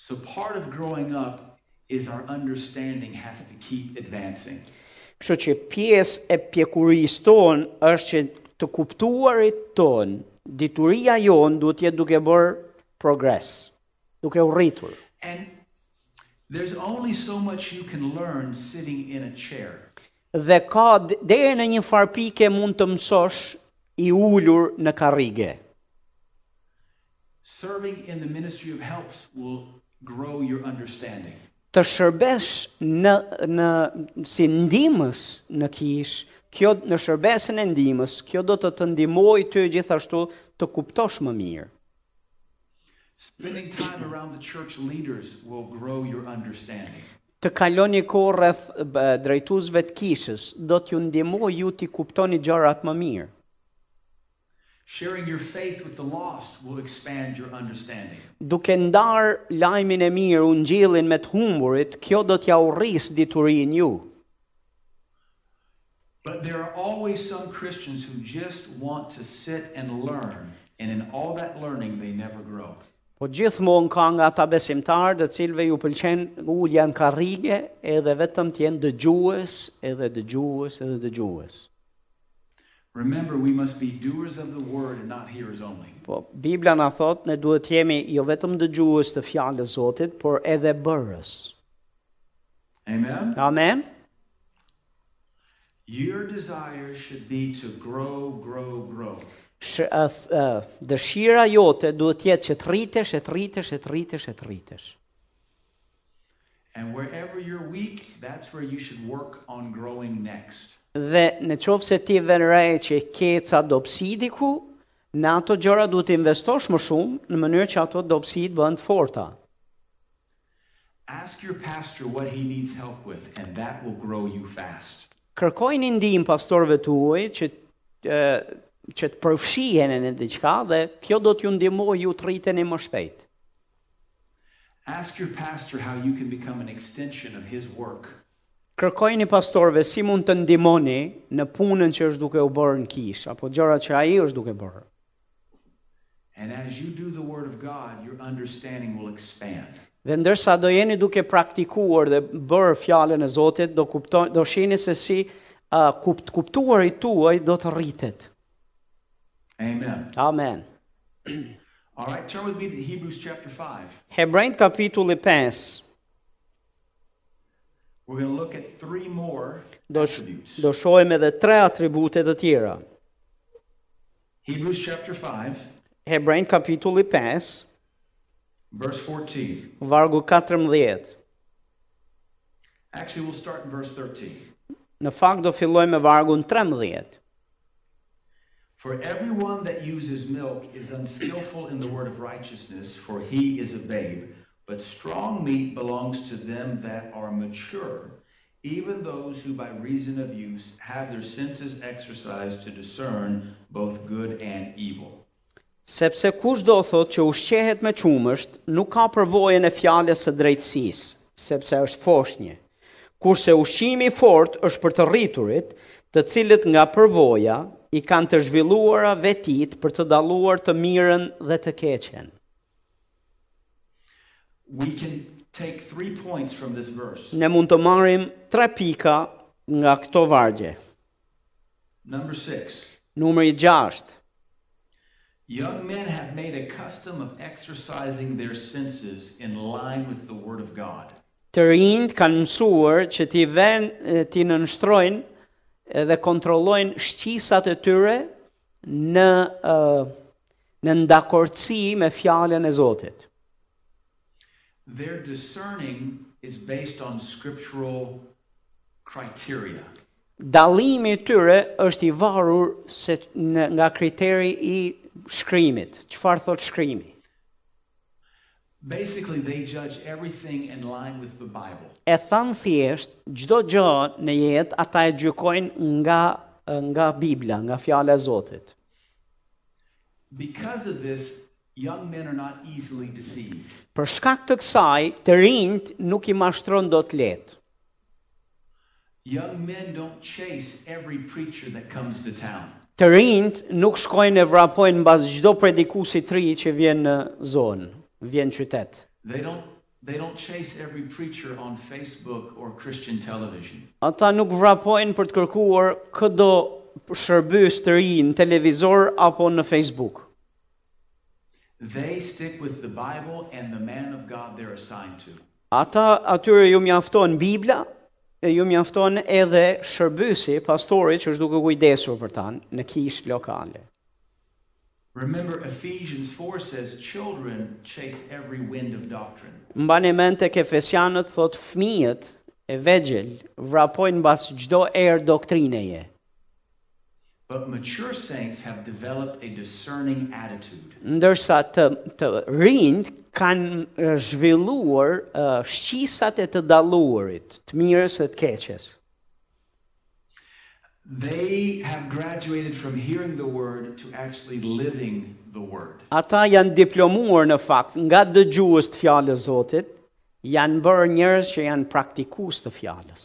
Speaker 2: So part of growing up is our understanding has to keep advancing.
Speaker 1: Kështu që pjesë e pjekurisë tonë është që të kuptuarit tonë, dituria jonë duhet jetë duke bërë progres, duke u rritur.
Speaker 2: And there's only so much you can learn sitting in a chair.
Speaker 1: Dhe ka d- deri në një farpike mund të mësosh i ulur në karrige.
Speaker 2: Serving in the ministry of helps will grow your understanding.
Speaker 1: të shërbesh në në si ndihmës në kish, kjo në shërbesën e ndihmës, kjo do të të ndihmojë ty gjithashtu të kuptosh më mirë.
Speaker 2: Spending time around the church leaders will grow your understanding.
Speaker 1: Të kaloni kohë rreth b- drejtuesve të kishës, do t'ju ndihmojë ju t'i kuptoni gjërat më mirë.
Speaker 2: Sharing your faith with the lost will expand your understanding.
Speaker 1: Duke ndarë lajmin e mirë, ungjillin me të humburit, kjo do t'ja urris diturinë ju.
Speaker 2: But there are always some Christians who just want to sit and learn, and in all that learning, they never grow.
Speaker 1: Po gjithmonë ka nga ata besimtarë të cilëve ju pëlqen ulja në karrige edhe vetëm të jenë dëgjues, edhe dëgjues, edhe dëgjues.
Speaker 2: Remember, we must be doers of the word and not hearers only.
Speaker 1: Po Bibla na thot ne duhet të jemi jo vetëm dëgjues të fjalës së Zotit, por edhe bërës.
Speaker 2: Amen?
Speaker 1: Amen.
Speaker 2: Your desire should be to grow, grow, grow.
Speaker 1: Sh, uh, uh, dëshira jote duhet të jetë që të rritesh, e të rritesh, e të rritesh, e të rritesh.
Speaker 2: And wherever you're weak, that's where you should work on growing next.
Speaker 1: Dhe në qovë se ti venrej që ke ca dobësi diku, në ato gjëra duhet të investosh më shumë në mënyrë që ato dobësit bëhen të forta.
Speaker 2: Ask your pastor what he needs help with, and that will grow you fast.
Speaker 1: kërkojnë ndihmë pastorëve tuaj që e, që të përfshihen në diçka dhe kjo do t'ju ndihmojë ju të rriteni më shpejt.
Speaker 2: Ask your pastor how you can become an extension of his work.
Speaker 1: Kërkojni pastorëve si mund të ndihmoni në punën që është duke u bërë në kish apo gjërat që ai është duke bërë.
Speaker 2: And as you do the Word of God, your understanding will expand.
Speaker 1: Dhe ndërsa do jeni duke praktikuar dhe bërë fjalën e Zotit, do kupton, do shihni se si uh, kupt, kuptuari tuaj do të rritet.
Speaker 2: Amen.
Speaker 1: Amen.
Speaker 2: All right, turn with me to Hebrews chapter 5.
Speaker 1: Hebrejt kapitulli 5.
Speaker 2: We're going to look at three more
Speaker 1: Do sh-
Speaker 2: attributes.
Speaker 1: do shohim edhe tre atribute të tjera.
Speaker 2: Hebrews chapter 5,
Speaker 1: Hebrejt kapitulli 5,
Speaker 2: verse 14.
Speaker 1: vargu 14.
Speaker 2: Actually, we'll start in verse 13.
Speaker 1: Në fakt do fillojmë me vargun 13.
Speaker 2: For everyone that uses milk is unskillful in the word of righteousness, for he is a babe. But strong meat belongs to them that are mature, even those who by reason of use have their senses exercised to discern both good and evil.
Speaker 1: Sepse kush do thot që ushqehet me qumësht, nuk ka përvojën e fjales së drejtsis, sepse është foshnje. Kurse ushqimi i fort është për të rriturit, të cilët nga përvoja i kanë të zhvilluara vetit për të daluar të mirën dhe të keqen.
Speaker 2: We can take three points from this verse.
Speaker 1: Ne mund të marrim tre pika nga këto vargje.
Speaker 2: Number six,
Speaker 1: Numëri 6.
Speaker 2: young men have made a custom of exercising their senses in line with the word of God.
Speaker 1: Të rinjt kanë mësuar që ti ven, e, ti nënshtrojnë dhe kontrollojnë shqisat e tyre në ë, në ndakortësi me fjalën e Zotit.
Speaker 2: Their discerning is based on scriptural criteria.
Speaker 1: Dallimi i tyre është i varur se në, nga kriteri i shkrimit. Çfarë thot shkrimi?
Speaker 2: Basically, they judge everything in line with the Bible.
Speaker 1: E than thjesht çdo gjë në jetë ata e gjykojnë nga nga Bibla, nga fjala e Zotit.
Speaker 2: Because of this, young men are not easily deceived.
Speaker 1: Për shkak të kësaj, të rinjt nuk i mashtron dot lehtë.
Speaker 2: Young men don't chase every preacher that comes to town.
Speaker 1: Të rinjt nuk shkojnë e vrapojnë mbas çdo predikuesi të ri që vjen në zonë, vjen në qytet.
Speaker 2: They don't, they don't chase every preacher on Facebook or Christian television.
Speaker 1: Ata nuk vrapojnë për të kërkuar këdo shërbys të ri në televizor apo në Facebook.
Speaker 2: They stick with the Bible and the man of God they're assigned to.
Speaker 1: Ata atyre ju mjafton Bibla, e ju mjafton edhe shërbysi pastori që është duke kujdesur për ta në kishë lokale.
Speaker 2: Remember, Ephesians 4 says, Children chase every wind of doctrine.
Speaker 1: Mbani mend tek Efesianët thot fëmijët e vegjël vrapojnë mbas çdo erë doktrineje.
Speaker 2: But mature saints have developed a discerning attitude.
Speaker 1: ndërsa të të rinjt kanë eh, zhvilluar eh, shqisat e të dalluarit, të mirës e të keqes.
Speaker 2: They have graduated from hearing the word to actually living the word.
Speaker 1: Ata janë diplomuar në fakt nga dëgjues të fjalës Zotit, janë bërë njerëz që janë praktikues të fjalës.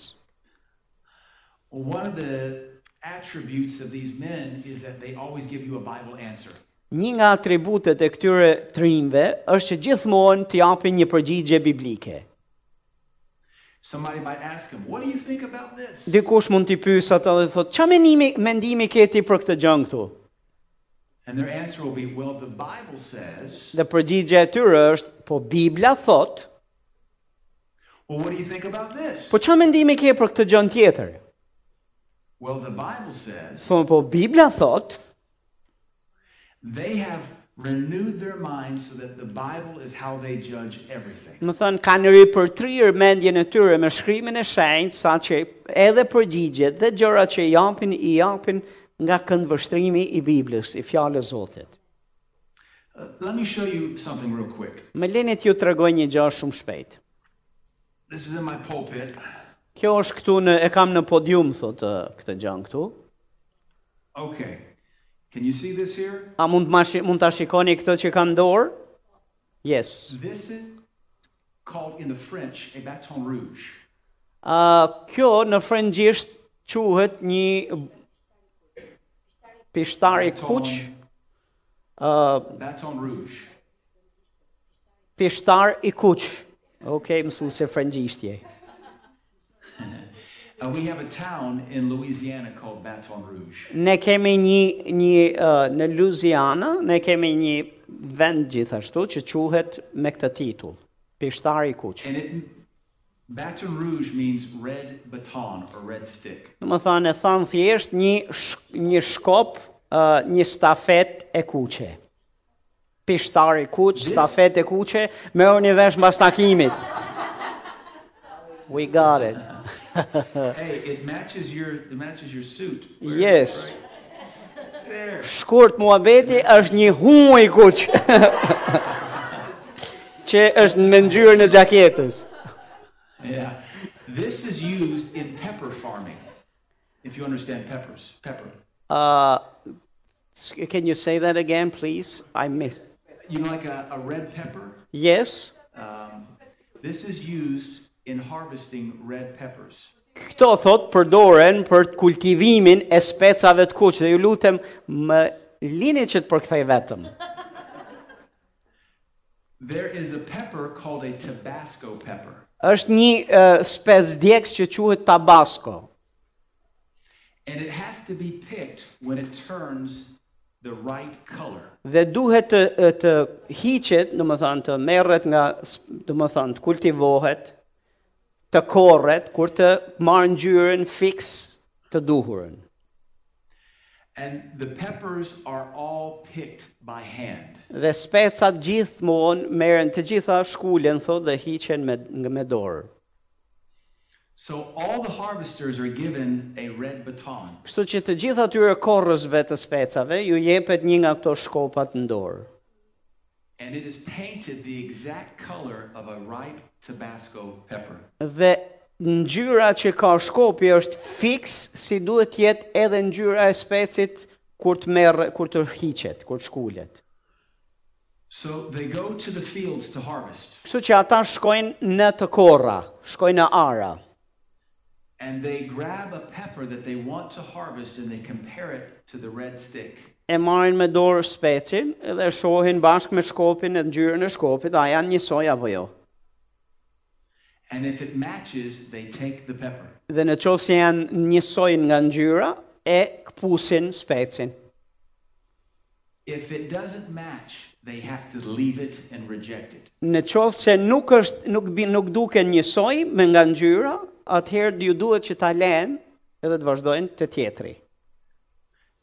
Speaker 2: One of the attributes of these men is that they always give you a Bible answer.
Speaker 1: Një nga atributet e këtyre trimve është që gjithmonë të japin një përgjigje biblike.
Speaker 2: Somebody might ask them, What do you think about this?
Speaker 1: Dikush mund t'i pyes ata dhe thotë, "Ç'a mendimi mendimi ke ti për këtë gjë këtu?"
Speaker 2: And their answer will be, Well, the Bible says,
Speaker 1: Dhe përgjigja e tyre është, "Po Bibla thotë"
Speaker 2: Well, what do you think about this?
Speaker 1: Po çfarë mendimi ke për këtë gjën tjetër?
Speaker 2: Well, the Bible says,
Speaker 1: Thonë, po Bibla thot,
Speaker 2: They have renewed their minds so that the Bible is how they judge everything.
Speaker 1: më thënë, kanë ri për trirë mendjen e tyre me shkrimin e shenjtë, sa që edhe përgjigjet dhe gjëra që i japin, i japin nga këndvështrimi i Biblës, i fjallës Zotit.
Speaker 2: Uh, let me show you something real quick.
Speaker 1: Me lenit ju të regoj një gjë shumë shpejt.
Speaker 2: This is in my pulpit.
Speaker 1: Kjo është këtu në, e kam në podium, thotë ë, këtë gjën këtu.
Speaker 2: Okay. Can you see this here?
Speaker 1: A mund, ma shi, mund të shikoni këtë që kam në dorë? Yes.
Speaker 2: This is called in the French a baton rouge.
Speaker 1: Uh, kjo në frëngjisht quhet një pishtari kuq, uh,
Speaker 2: Baton rouge.
Speaker 1: pishtar i kuq. Okej, mësuese frëngjishtje.
Speaker 2: Uh, we have a town in Louisiana called Baton Rouge.
Speaker 1: Ne kemi një një uh, në Louisiana, ne kemi një vend gjithashtu që quhet me këtë titull, Pishtari i kuq.
Speaker 2: And it, Baton Rouge means red baton or red stick.
Speaker 1: Do të thonë e thon thjesht një sh një shkop, uh, një stafet e kuqe. Pishtari i kuq, stafet e kuqe, merrni vesh mbas takimit. We got it.
Speaker 2: hey, it matches your it matches your suit. Where is it?
Speaker 1: Yes.
Speaker 2: Right there.
Speaker 1: Shkurt muhabeti është një huaj i kuq. [LAUGHS] që është në ngjyrën e xhaketës.
Speaker 2: Yeah. This is used in pepper farming. If you understand peppers, pepper.
Speaker 1: Uh, can you say that again, please? I missed.
Speaker 2: You know, like a, a red pepper.
Speaker 1: Yes.
Speaker 2: Um, this is used in harvesting red peppers.
Speaker 1: Këto thot përdoren për kultivimin e specave të kuqe. Dhe ju lutem më lini që të përkthej vetëm.
Speaker 2: There is a pepper called a Tabasco pepper,
Speaker 1: Është një uh, spec djegës që quhet Tabasco.
Speaker 2: and it has to be picked when it turns the right color.
Speaker 1: Dhe duhet të të hiqet, do të thonë të merret nga, s- do të thonë të kultivohet, të korret kur të marr ngjyrën fiks të duhurën.
Speaker 2: And the peppers are all picked by hand.
Speaker 1: Dhe specat gjithmonë merren të gjitha shkulen thotë dhe hiqen me nga- me dorë.
Speaker 2: So all the harvesters are given a red baton.
Speaker 1: Kështu që të gjithë atyre korrësve të specave ju jepet një nga këto shkopat në dorë.
Speaker 2: and it is painted the exact color of a ripe Tabasco pepper.
Speaker 1: Dhe ngjyra që ka shkopi është fiks si duhet të jetë edhe ngjyra e specit kur të merr kur të hiqet, kur të shkulet.
Speaker 2: So they go to the fields to harvest,
Speaker 1: Kështu që ata shkojnë në të korra, shkojnë në ara.
Speaker 2: and they grab a pepper that they want to harvest and they compare it to the red stick.
Speaker 1: E marrin me dorë specin dhe e shohin bashkë me shkopin e ngjyrën e shkopit, a janë njësoj apo jo.
Speaker 2: And if it matches, they take the pepper.
Speaker 1: Dhe në qovë se janë njësoj nga ngjyra, e kpusin specin.
Speaker 2: If it doesn't match, they have to leave it and reject it.
Speaker 1: Në qovë se nuk, është, nuk, bi- nuk duke njësoj me nga ngjyra, atëherë ju duhet që ta lenë edhe të vazhdojnë të tjetri.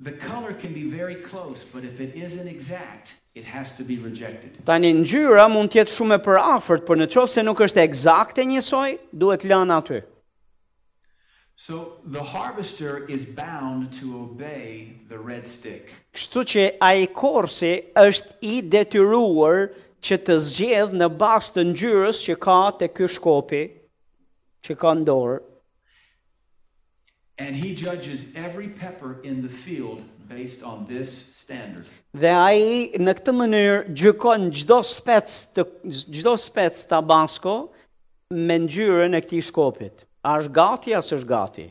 Speaker 2: The color can be very close, but if it isn't exact, it has to be rejected.
Speaker 1: Tani ngjyra mund të jetë shumë e përafërt, por në qovë se nuk është eksakte njësoj, duhet lënë aty.
Speaker 2: So the harvester is bound to obey the red stick.
Speaker 1: Kështu që ai korsi është i detyruar që të zgjedh në bazë të ngjyrës që ka te ky shkopi që ka në dorë
Speaker 2: And he judges every pepper in the field based on this standard.
Speaker 1: dhe ai në këtë mënyrë gjykon çdo spec të çdo spec tabasko me ngjyrën e këtij shkopit. A është gati as është gati?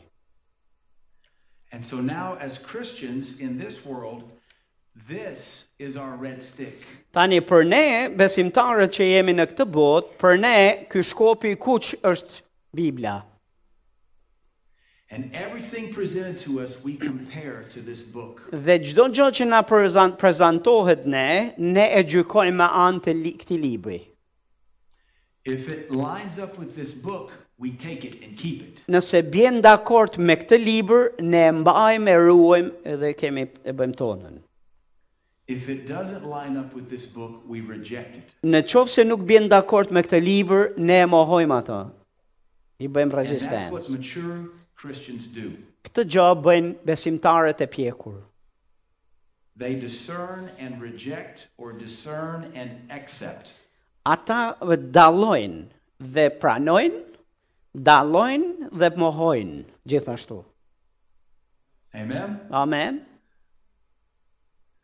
Speaker 2: And so now, as Christians in this world, this is our red stick.
Speaker 1: Tani për ne besimtarët që jemi në këtë botë, për ne ky shkopi i kuq është Bibla.
Speaker 2: And everything presented to us, we compare to this book.
Speaker 1: Dhe gjdo gjë që na prezan- prezantohet ne, ne e gjykojmë me anë të li, këti libri.
Speaker 2: If it lines up with this book, we take it and keep it.
Speaker 1: Nëse bjen dakord me këtë libër, ne e mbajmë, e ruajmë edhe kemi e bëjmë tonën.
Speaker 2: If it doesn't line up with this book, we reject it.
Speaker 1: Në qovë se nuk bjen dakord me këtë libër, ne e mohojmë ato. I bëjmë
Speaker 2: And that's what
Speaker 1: rezistencë.
Speaker 2: mature Christians do.
Speaker 1: Këtë gjë bëjnë besimtarët e pjekur.
Speaker 2: They discern and reject, or discern and accept.
Speaker 1: Ata dallojnë dhe pranojnë, dallojnë dhe mohojnë gjithashtu.
Speaker 2: Amen?
Speaker 1: Amen.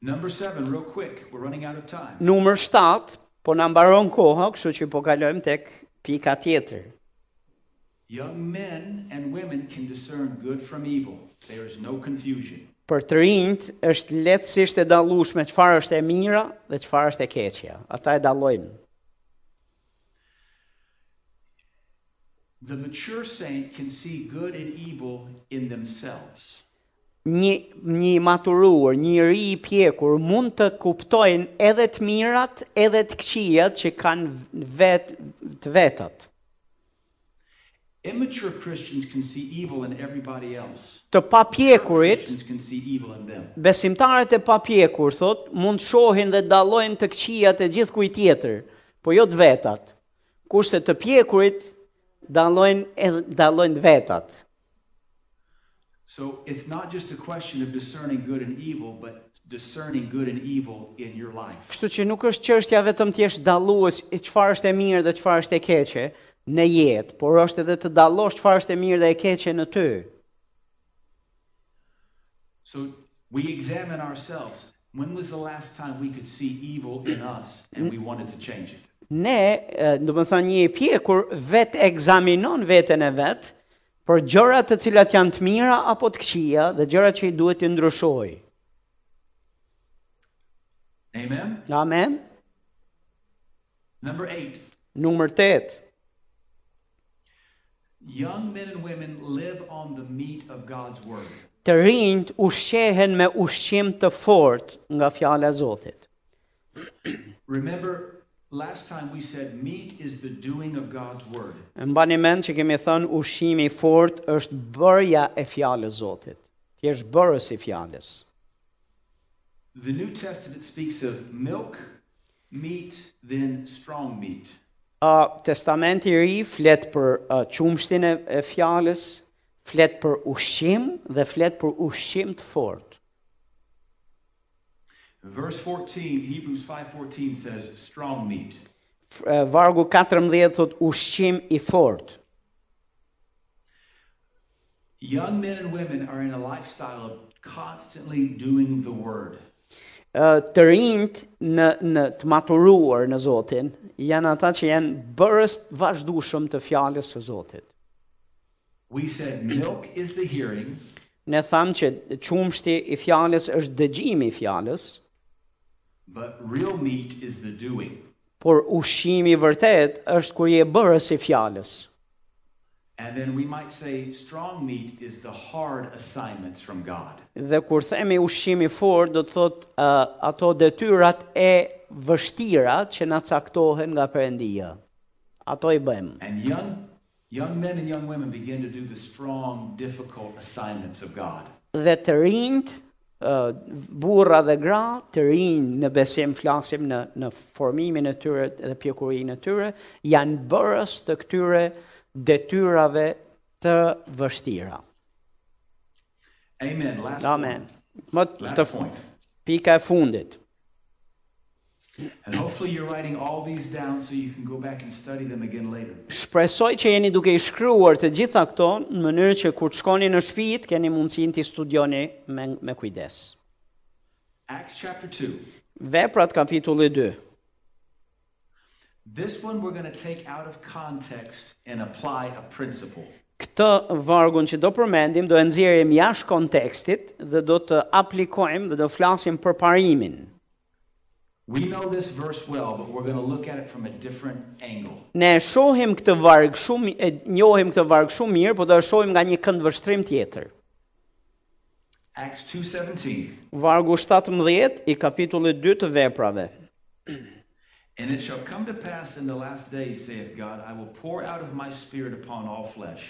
Speaker 2: Number seven, real quick. We're running out of time.
Speaker 1: numër 7, po na mbaron koha, kështu që po kalojmë tek pika tjetër.
Speaker 2: Young men and women can discern good from evil. There is no confusion.
Speaker 1: Për të rinjt është lehtësisht e dallueshme çfarë është e mira dhe çfarë është e keqja. Ata e dallojnë.
Speaker 2: The mature saint can see good and evil in themselves.
Speaker 1: Një një i maturuar, një ri i pjekur mund të kuptojnë edhe të mirat, edhe të këqijat që kanë vet të vetët.
Speaker 2: Immature Christians can see evil in everybody else.
Speaker 1: Të papjekurit,
Speaker 2: Christians can see evil in them.
Speaker 1: besimtarët e papjekur thot, mund shohin dhe dallojnë të këqijat e gjithkujt tjetër, po jo të vetat. Kurse të pjekurit dallojnë edhe dallojnë të vetat.
Speaker 2: So it's not just a question of discerning good and evil, but discerning good and evil in your life.
Speaker 1: Kështu që nuk është çështja vetëm të jesh dallues i çfarë është e mirë dhe çfarë është e keqe në jetë, por është edhe të dallosh çfarë është e mirë dhe e keqe në ty.
Speaker 2: So we examine ourselves. When was the last time we could see evil in us and we wanted to change it?
Speaker 1: Ne, e, do të thonë një i pjekur vetë ekzaminon veten e vet për gjërat të cilat janë të mira apo të këqija dhe gjërat që i duhet të ndryshojë.
Speaker 2: Amen?
Speaker 1: Amen.
Speaker 2: Number eight,
Speaker 1: Numër 8.
Speaker 2: young men and women live on the meat of God's word.
Speaker 1: Të rinjt ushqehen me ushqim të fortë nga fjala e Zotit.
Speaker 2: Remember, last time we said meat is the doing of God's word.
Speaker 1: Mbani mend që kemi thënë ushqimi i fortë është bërja e fjalës së Zotit. Ti je bërës i fjalës.
Speaker 2: The New Testament speaks of milk, meat, then strong meat.
Speaker 1: Uh, testamenti i ri flet për uh, qumshtin e, e fjalës, flet për ushqim dhe flet për ushqim të fortë.
Speaker 2: Verse 14, Hebrews 5:14 says strong meat.
Speaker 1: F- e, Vargu 14 thot ushqim i fortë.
Speaker 2: Young men and women are in a lifestyle of constantly doing the word.
Speaker 1: Ë, të rinjt në në të maturuar në Zotin janë ata që janë bërës të vazhdueshëm të fjalës së Zotit.
Speaker 2: We said milk is the hearing,
Speaker 1: Ne thamë që qumshti i fjalës është dëgjimi i fjalës,
Speaker 2: but real meat is the doing.
Speaker 1: por ushqimi i vërtet është kur je bërës i fjalës.
Speaker 2: And then we might say strong meat is the hard assignments from God.
Speaker 1: Dhe kur themi ushqim i fortë, do të thotë uh, ato detyrat e vështira që na caktohen nga Perëndia. Ato i bëjmë.
Speaker 2: And young young men and young women begin to do the strong, difficult assignments of God.
Speaker 1: Dhe të rinjt, uh, burra dhe gra, të rinj në besim flasim në në formimin e tyre dhe pjekurinë e tyre, janë bërës të këtyre detyrave të vështira.
Speaker 2: Amen. Last
Speaker 1: Amen.
Speaker 2: one.
Speaker 1: Më të
Speaker 2: Last point.
Speaker 1: pika e fundit.
Speaker 2: And hopefully you're writing all these down so you can go back and study them again later.
Speaker 1: Shpresoj që jeni duke i shkruar të gjitha këto në mënyrë që kur të shkoni në shtëpi të keni mundësinë të studioni me me kujdes.
Speaker 2: Acts chapter 2.
Speaker 1: Veprat kapitulli 2.
Speaker 2: This one we're going to take out of context and apply a principle.
Speaker 1: Këtë vargun që do përmendim do e nxjerrim jashtë kontekstit dhe do të aplikojmë dhe do flasim për parimin.
Speaker 2: We know this verse well, but we're going to look at it from a different angle.
Speaker 1: Ne e shohim këtë varg shumë e njohim këtë varg shumë mirë, por do e shohim nga një kënd vështrim tjetër.
Speaker 2: Acts 2:17.
Speaker 1: Vargu 17 i kapitullit 2 të veprave.
Speaker 2: And it shall come to pass in the last days, saith God, I will pour out of my spirit upon all flesh,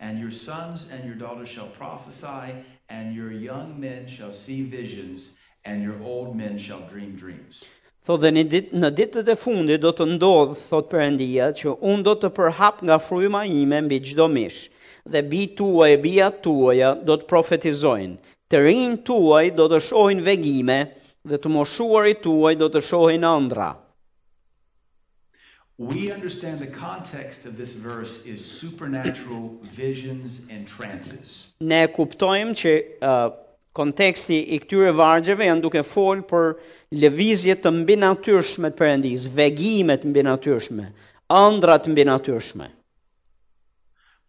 Speaker 2: and your sons and your daughters shall prophesy, and your young men shall see visions, and your old men shall dream dreams.
Speaker 1: Thot dhe në, dit, në ditët e fundit do të ndodhë, thot përëndia, që unë do të përhap nga fryma ime mbi gjdo mish, dhe bi tuaj e bia tuaja do të profetizojnë, të rinj tuaj do të shohin vegime, dhe të moshuarit tuaj do të shohin ëndra.
Speaker 2: We understand the context of this verse is supernatural visions and trances.
Speaker 1: Ne kuptojmë që uh, konteksti i këtyre vargjeve janë duke folë për lëvizje të mbinatyrshme të përëndis, vegime të mbinatyrshme, ëndra të mbinatyrshme.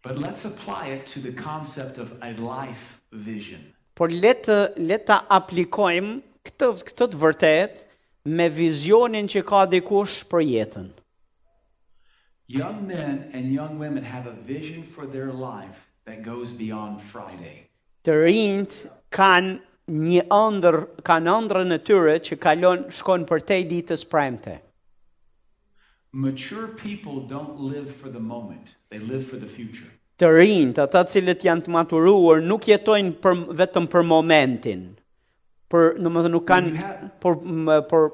Speaker 2: But let's apply it to the concept of a life vision.
Speaker 1: por le të le ta aplikojmë këtë këtë të vërtetë me vizionin që ka dikush për jetën.
Speaker 2: Young men and young women have a vision for their life that goes beyond Friday.
Speaker 1: Të rinjt kanë një ëndër, kanë ëndrrën e tyre që kalon shkon përtej ditës premte.
Speaker 2: Mature people don't live for the moment, they live for the future.
Speaker 1: Të rinjt, ata cilët janë të maturuar, nuk jetojnë për, vetëm për momentin. Për, në më dhe nuk kanë, për, më, për,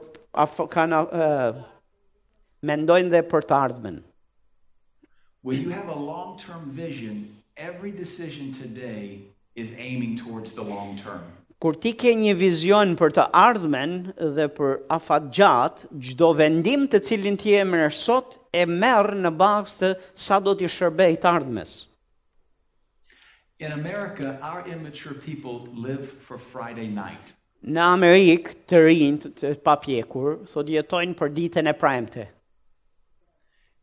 Speaker 1: af, kanë, uh, mendojnë dhe për të ardhmen.
Speaker 2: When you have a long term vision, every decision today is aiming towards the long term.
Speaker 1: Kur ti ke një vizion për të ardhmen dhe për afat gjatë, gjdo vendim të cilin ti e mërë sot e merë në bazë të sa do t'i shërbej të ardhmes.
Speaker 2: In America, our immature people live for Friday night.
Speaker 1: Në Amerikë të rinjt të papjekur, thot jetojnë për ditën e premte.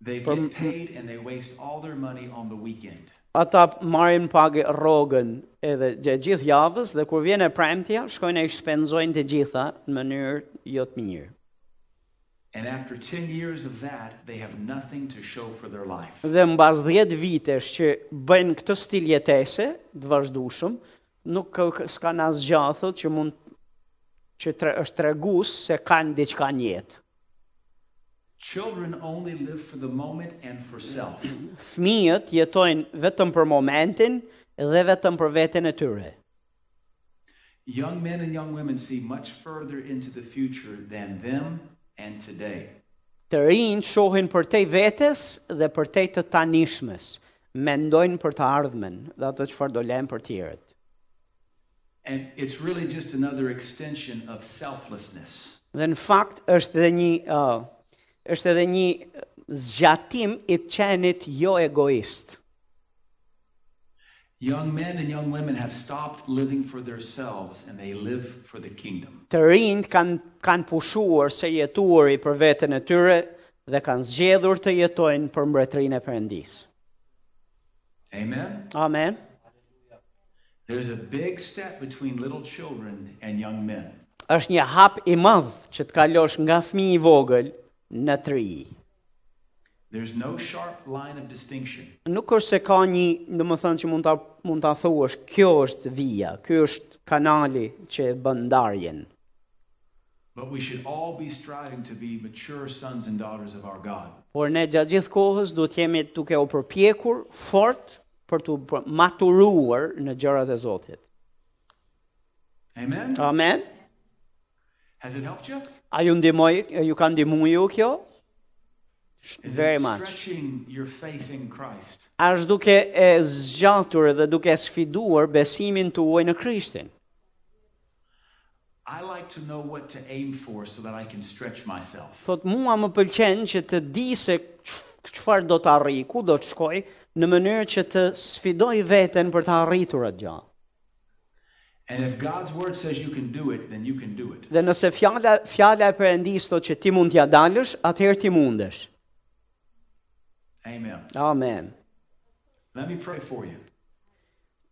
Speaker 2: They get paid and they waste all their money on the weekend.
Speaker 1: Ata marrin pagë rrogën edhe gjatë gjithë javës dhe kur vjen e premtja, shkojnë e shpenzojnë të gjitha në mënyrë jo të mirë.
Speaker 2: And after 10 years of that, they have nothing to show for their life.
Speaker 1: Dhe mbas 10 vitesh që bëjnë këtë stil jetese, të vazhdueshëm, nuk k- s'kan asgjë thotë që mund që tre, është tregus se kanë diçka në jetë.
Speaker 2: Children only live for the moment and for self.
Speaker 1: Fëmijët jetojnë vetëm për momentin dhe vetëm për veten e tyre.
Speaker 2: Young men and young women see much further into the future than them and today.
Speaker 1: Të rinj shohin për te vetes dhe për te të tanishmes, mendojnë për të ardhmen dhe ato çfarë do lënë për tjerët.
Speaker 2: And it's really just another extension of selflessness.
Speaker 1: Dhe në fakt është edhe një uh, është edhe një zgjatim i qenit jo egoist.
Speaker 2: Young men and young women have stopped living for themselves and they live for the kingdom.
Speaker 1: Të rinjt kanë kanë pushuar se jetuari për veten e tyre dhe kanë zgjedhur të jetojnë për mbretërinë e Perëndisë.
Speaker 2: Amen?
Speaker 1: Amen.
Speaker 2: There's a big step between little children and young men.
Speaker 1: Është një hap i madh që të kalosh nga fëmijë i vogël në të ri.
Speaker 2: There's no sharp line of distinction.
Speaker 1: Nuk është se ka një, do të thënë që mund ta mund ta thuash, kjo është vija, ky është kanali që e bën ndarjen.
Speaker 2: But we should all be striving to be mature sons and daughters of our God.
Speaker 1: por ne gjatë gjithë kohës duhet jemi duke u përpjekur fort për të për- maturuar në gjërat e Zotit.
Speaker 2: Amen?
Speaker 1: Amen.
Speaker 2: Has it helped you?
Speaker 1: A ju ndihmoi, ju ka ndihmuar ju kjo? Sh-
Speaker 2: Is
Speaker 1: Very
Speaker 2: it
Speaker 1: much.
Speaker 2: stretching your faith in Christ?
Speaker 1: A është duke e zgjatur dhe duke sfiduar besimin tuaj në Krishtin.
Speaker 2: I like to know what to aim for so that I can stretch myself.
Speaker 1: Thot mua më pëlqen që të di se qf- çfarë do të arrij, ku do të shkoj, në mënyrë që të sfidoj veten për të arritur atë gjë.
Speaker 2: And if God's word says you can do it, then you can do it.
Speaker 1: Dhe nëse fjala fjala e Perëndisë thotë që ti mund t'ja dalësh, atëherë ti mundesh.
Speaker 2: Amen.
Speaker 1: Amen.
Speaker 2: Let me pray for you.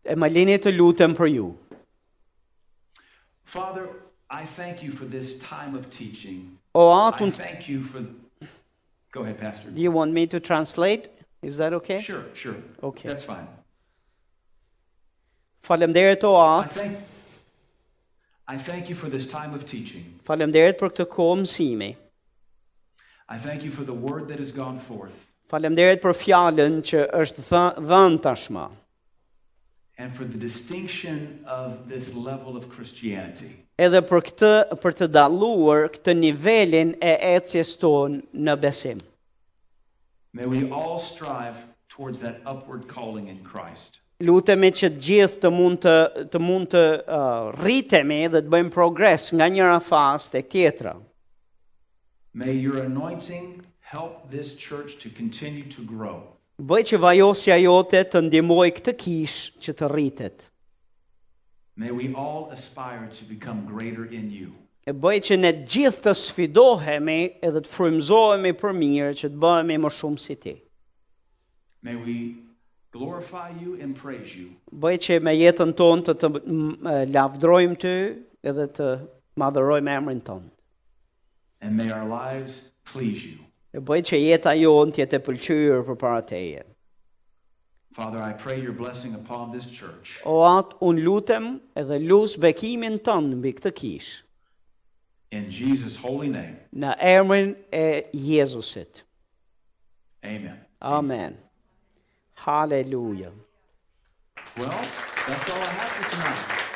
Speaker 1: E më lini të lutem për ju.
Speaker 2: Father, I thank you for this time of teaching.
Speaker 1: O
Speaker 2: I
Speaker 1: atun,
Speaker 2: thank you for. Go ahead, Pastor.
Speaker 1: do you want me to translate? Is that okay?
Speaker 2: Sure, sure.
Speaker 1: Okay.
Speaker 2: That's fine.
Speaker 1: Faleminderit o
Speaker 2: I
Speaker 1: at,
Speaker 2: thank, I thank you for this time of teaching.
Speaker 1: faleminderit për këtë kohë mësimi.
Speaker 2: I thank you for the word that has gone forth
Speaker 1: Faleminderit për fjalën që është thë- dhënë tashmë
Speaker 2: and for the distinction of this level of Christianity.
Speaker 1: edhe për këtë për të dalluar këtë nivelin e ecjes tonë në besim.
Speaker 2: May we all strive towards that upward calling in Christ.
Speaker 1: Lutemi që të gjithë të mund të të mund të uh, rritemi dhe të bëjmë progres nga njëra fazë tek tjetra.
Speaker 2: May your anointing help this church to continue to grow.
Speaker 1: Bëj që vajosja jote të ndihmoj këtë kishë që të rritet.
Speaker 2: May we all aspire to become greater in you.
Speaker 1: e bëj që ne gjithë të sfidohemi edhe të frymëzohemi për mirë që të bëhemi më shumë si ti.
Speaker 2: May we glorify you and praise you.
Speaker 1: Bëj që me jetën tonë të të m- e, lavdrojmë ty edhe të madhërojmë emrin tonë.
Speaker 2: And may our lives please you.
Speaker 1: e bëj që jeta jonë të jetë e pëlqyer përpara teje.
Speaker 2: Father, I pray your blessing upon this church.
Speaker 1: O atë unë lutem edhe lus bekimin tënd mbi këtë kishë
Speaker 2: In Jesus' holy name,
Speaker 1: në emrin e Jezusit.
Speaker 2: amen.
Speaker 1: Amen. Haleluja.
Speaker 2: Well, that's all I have for tonight.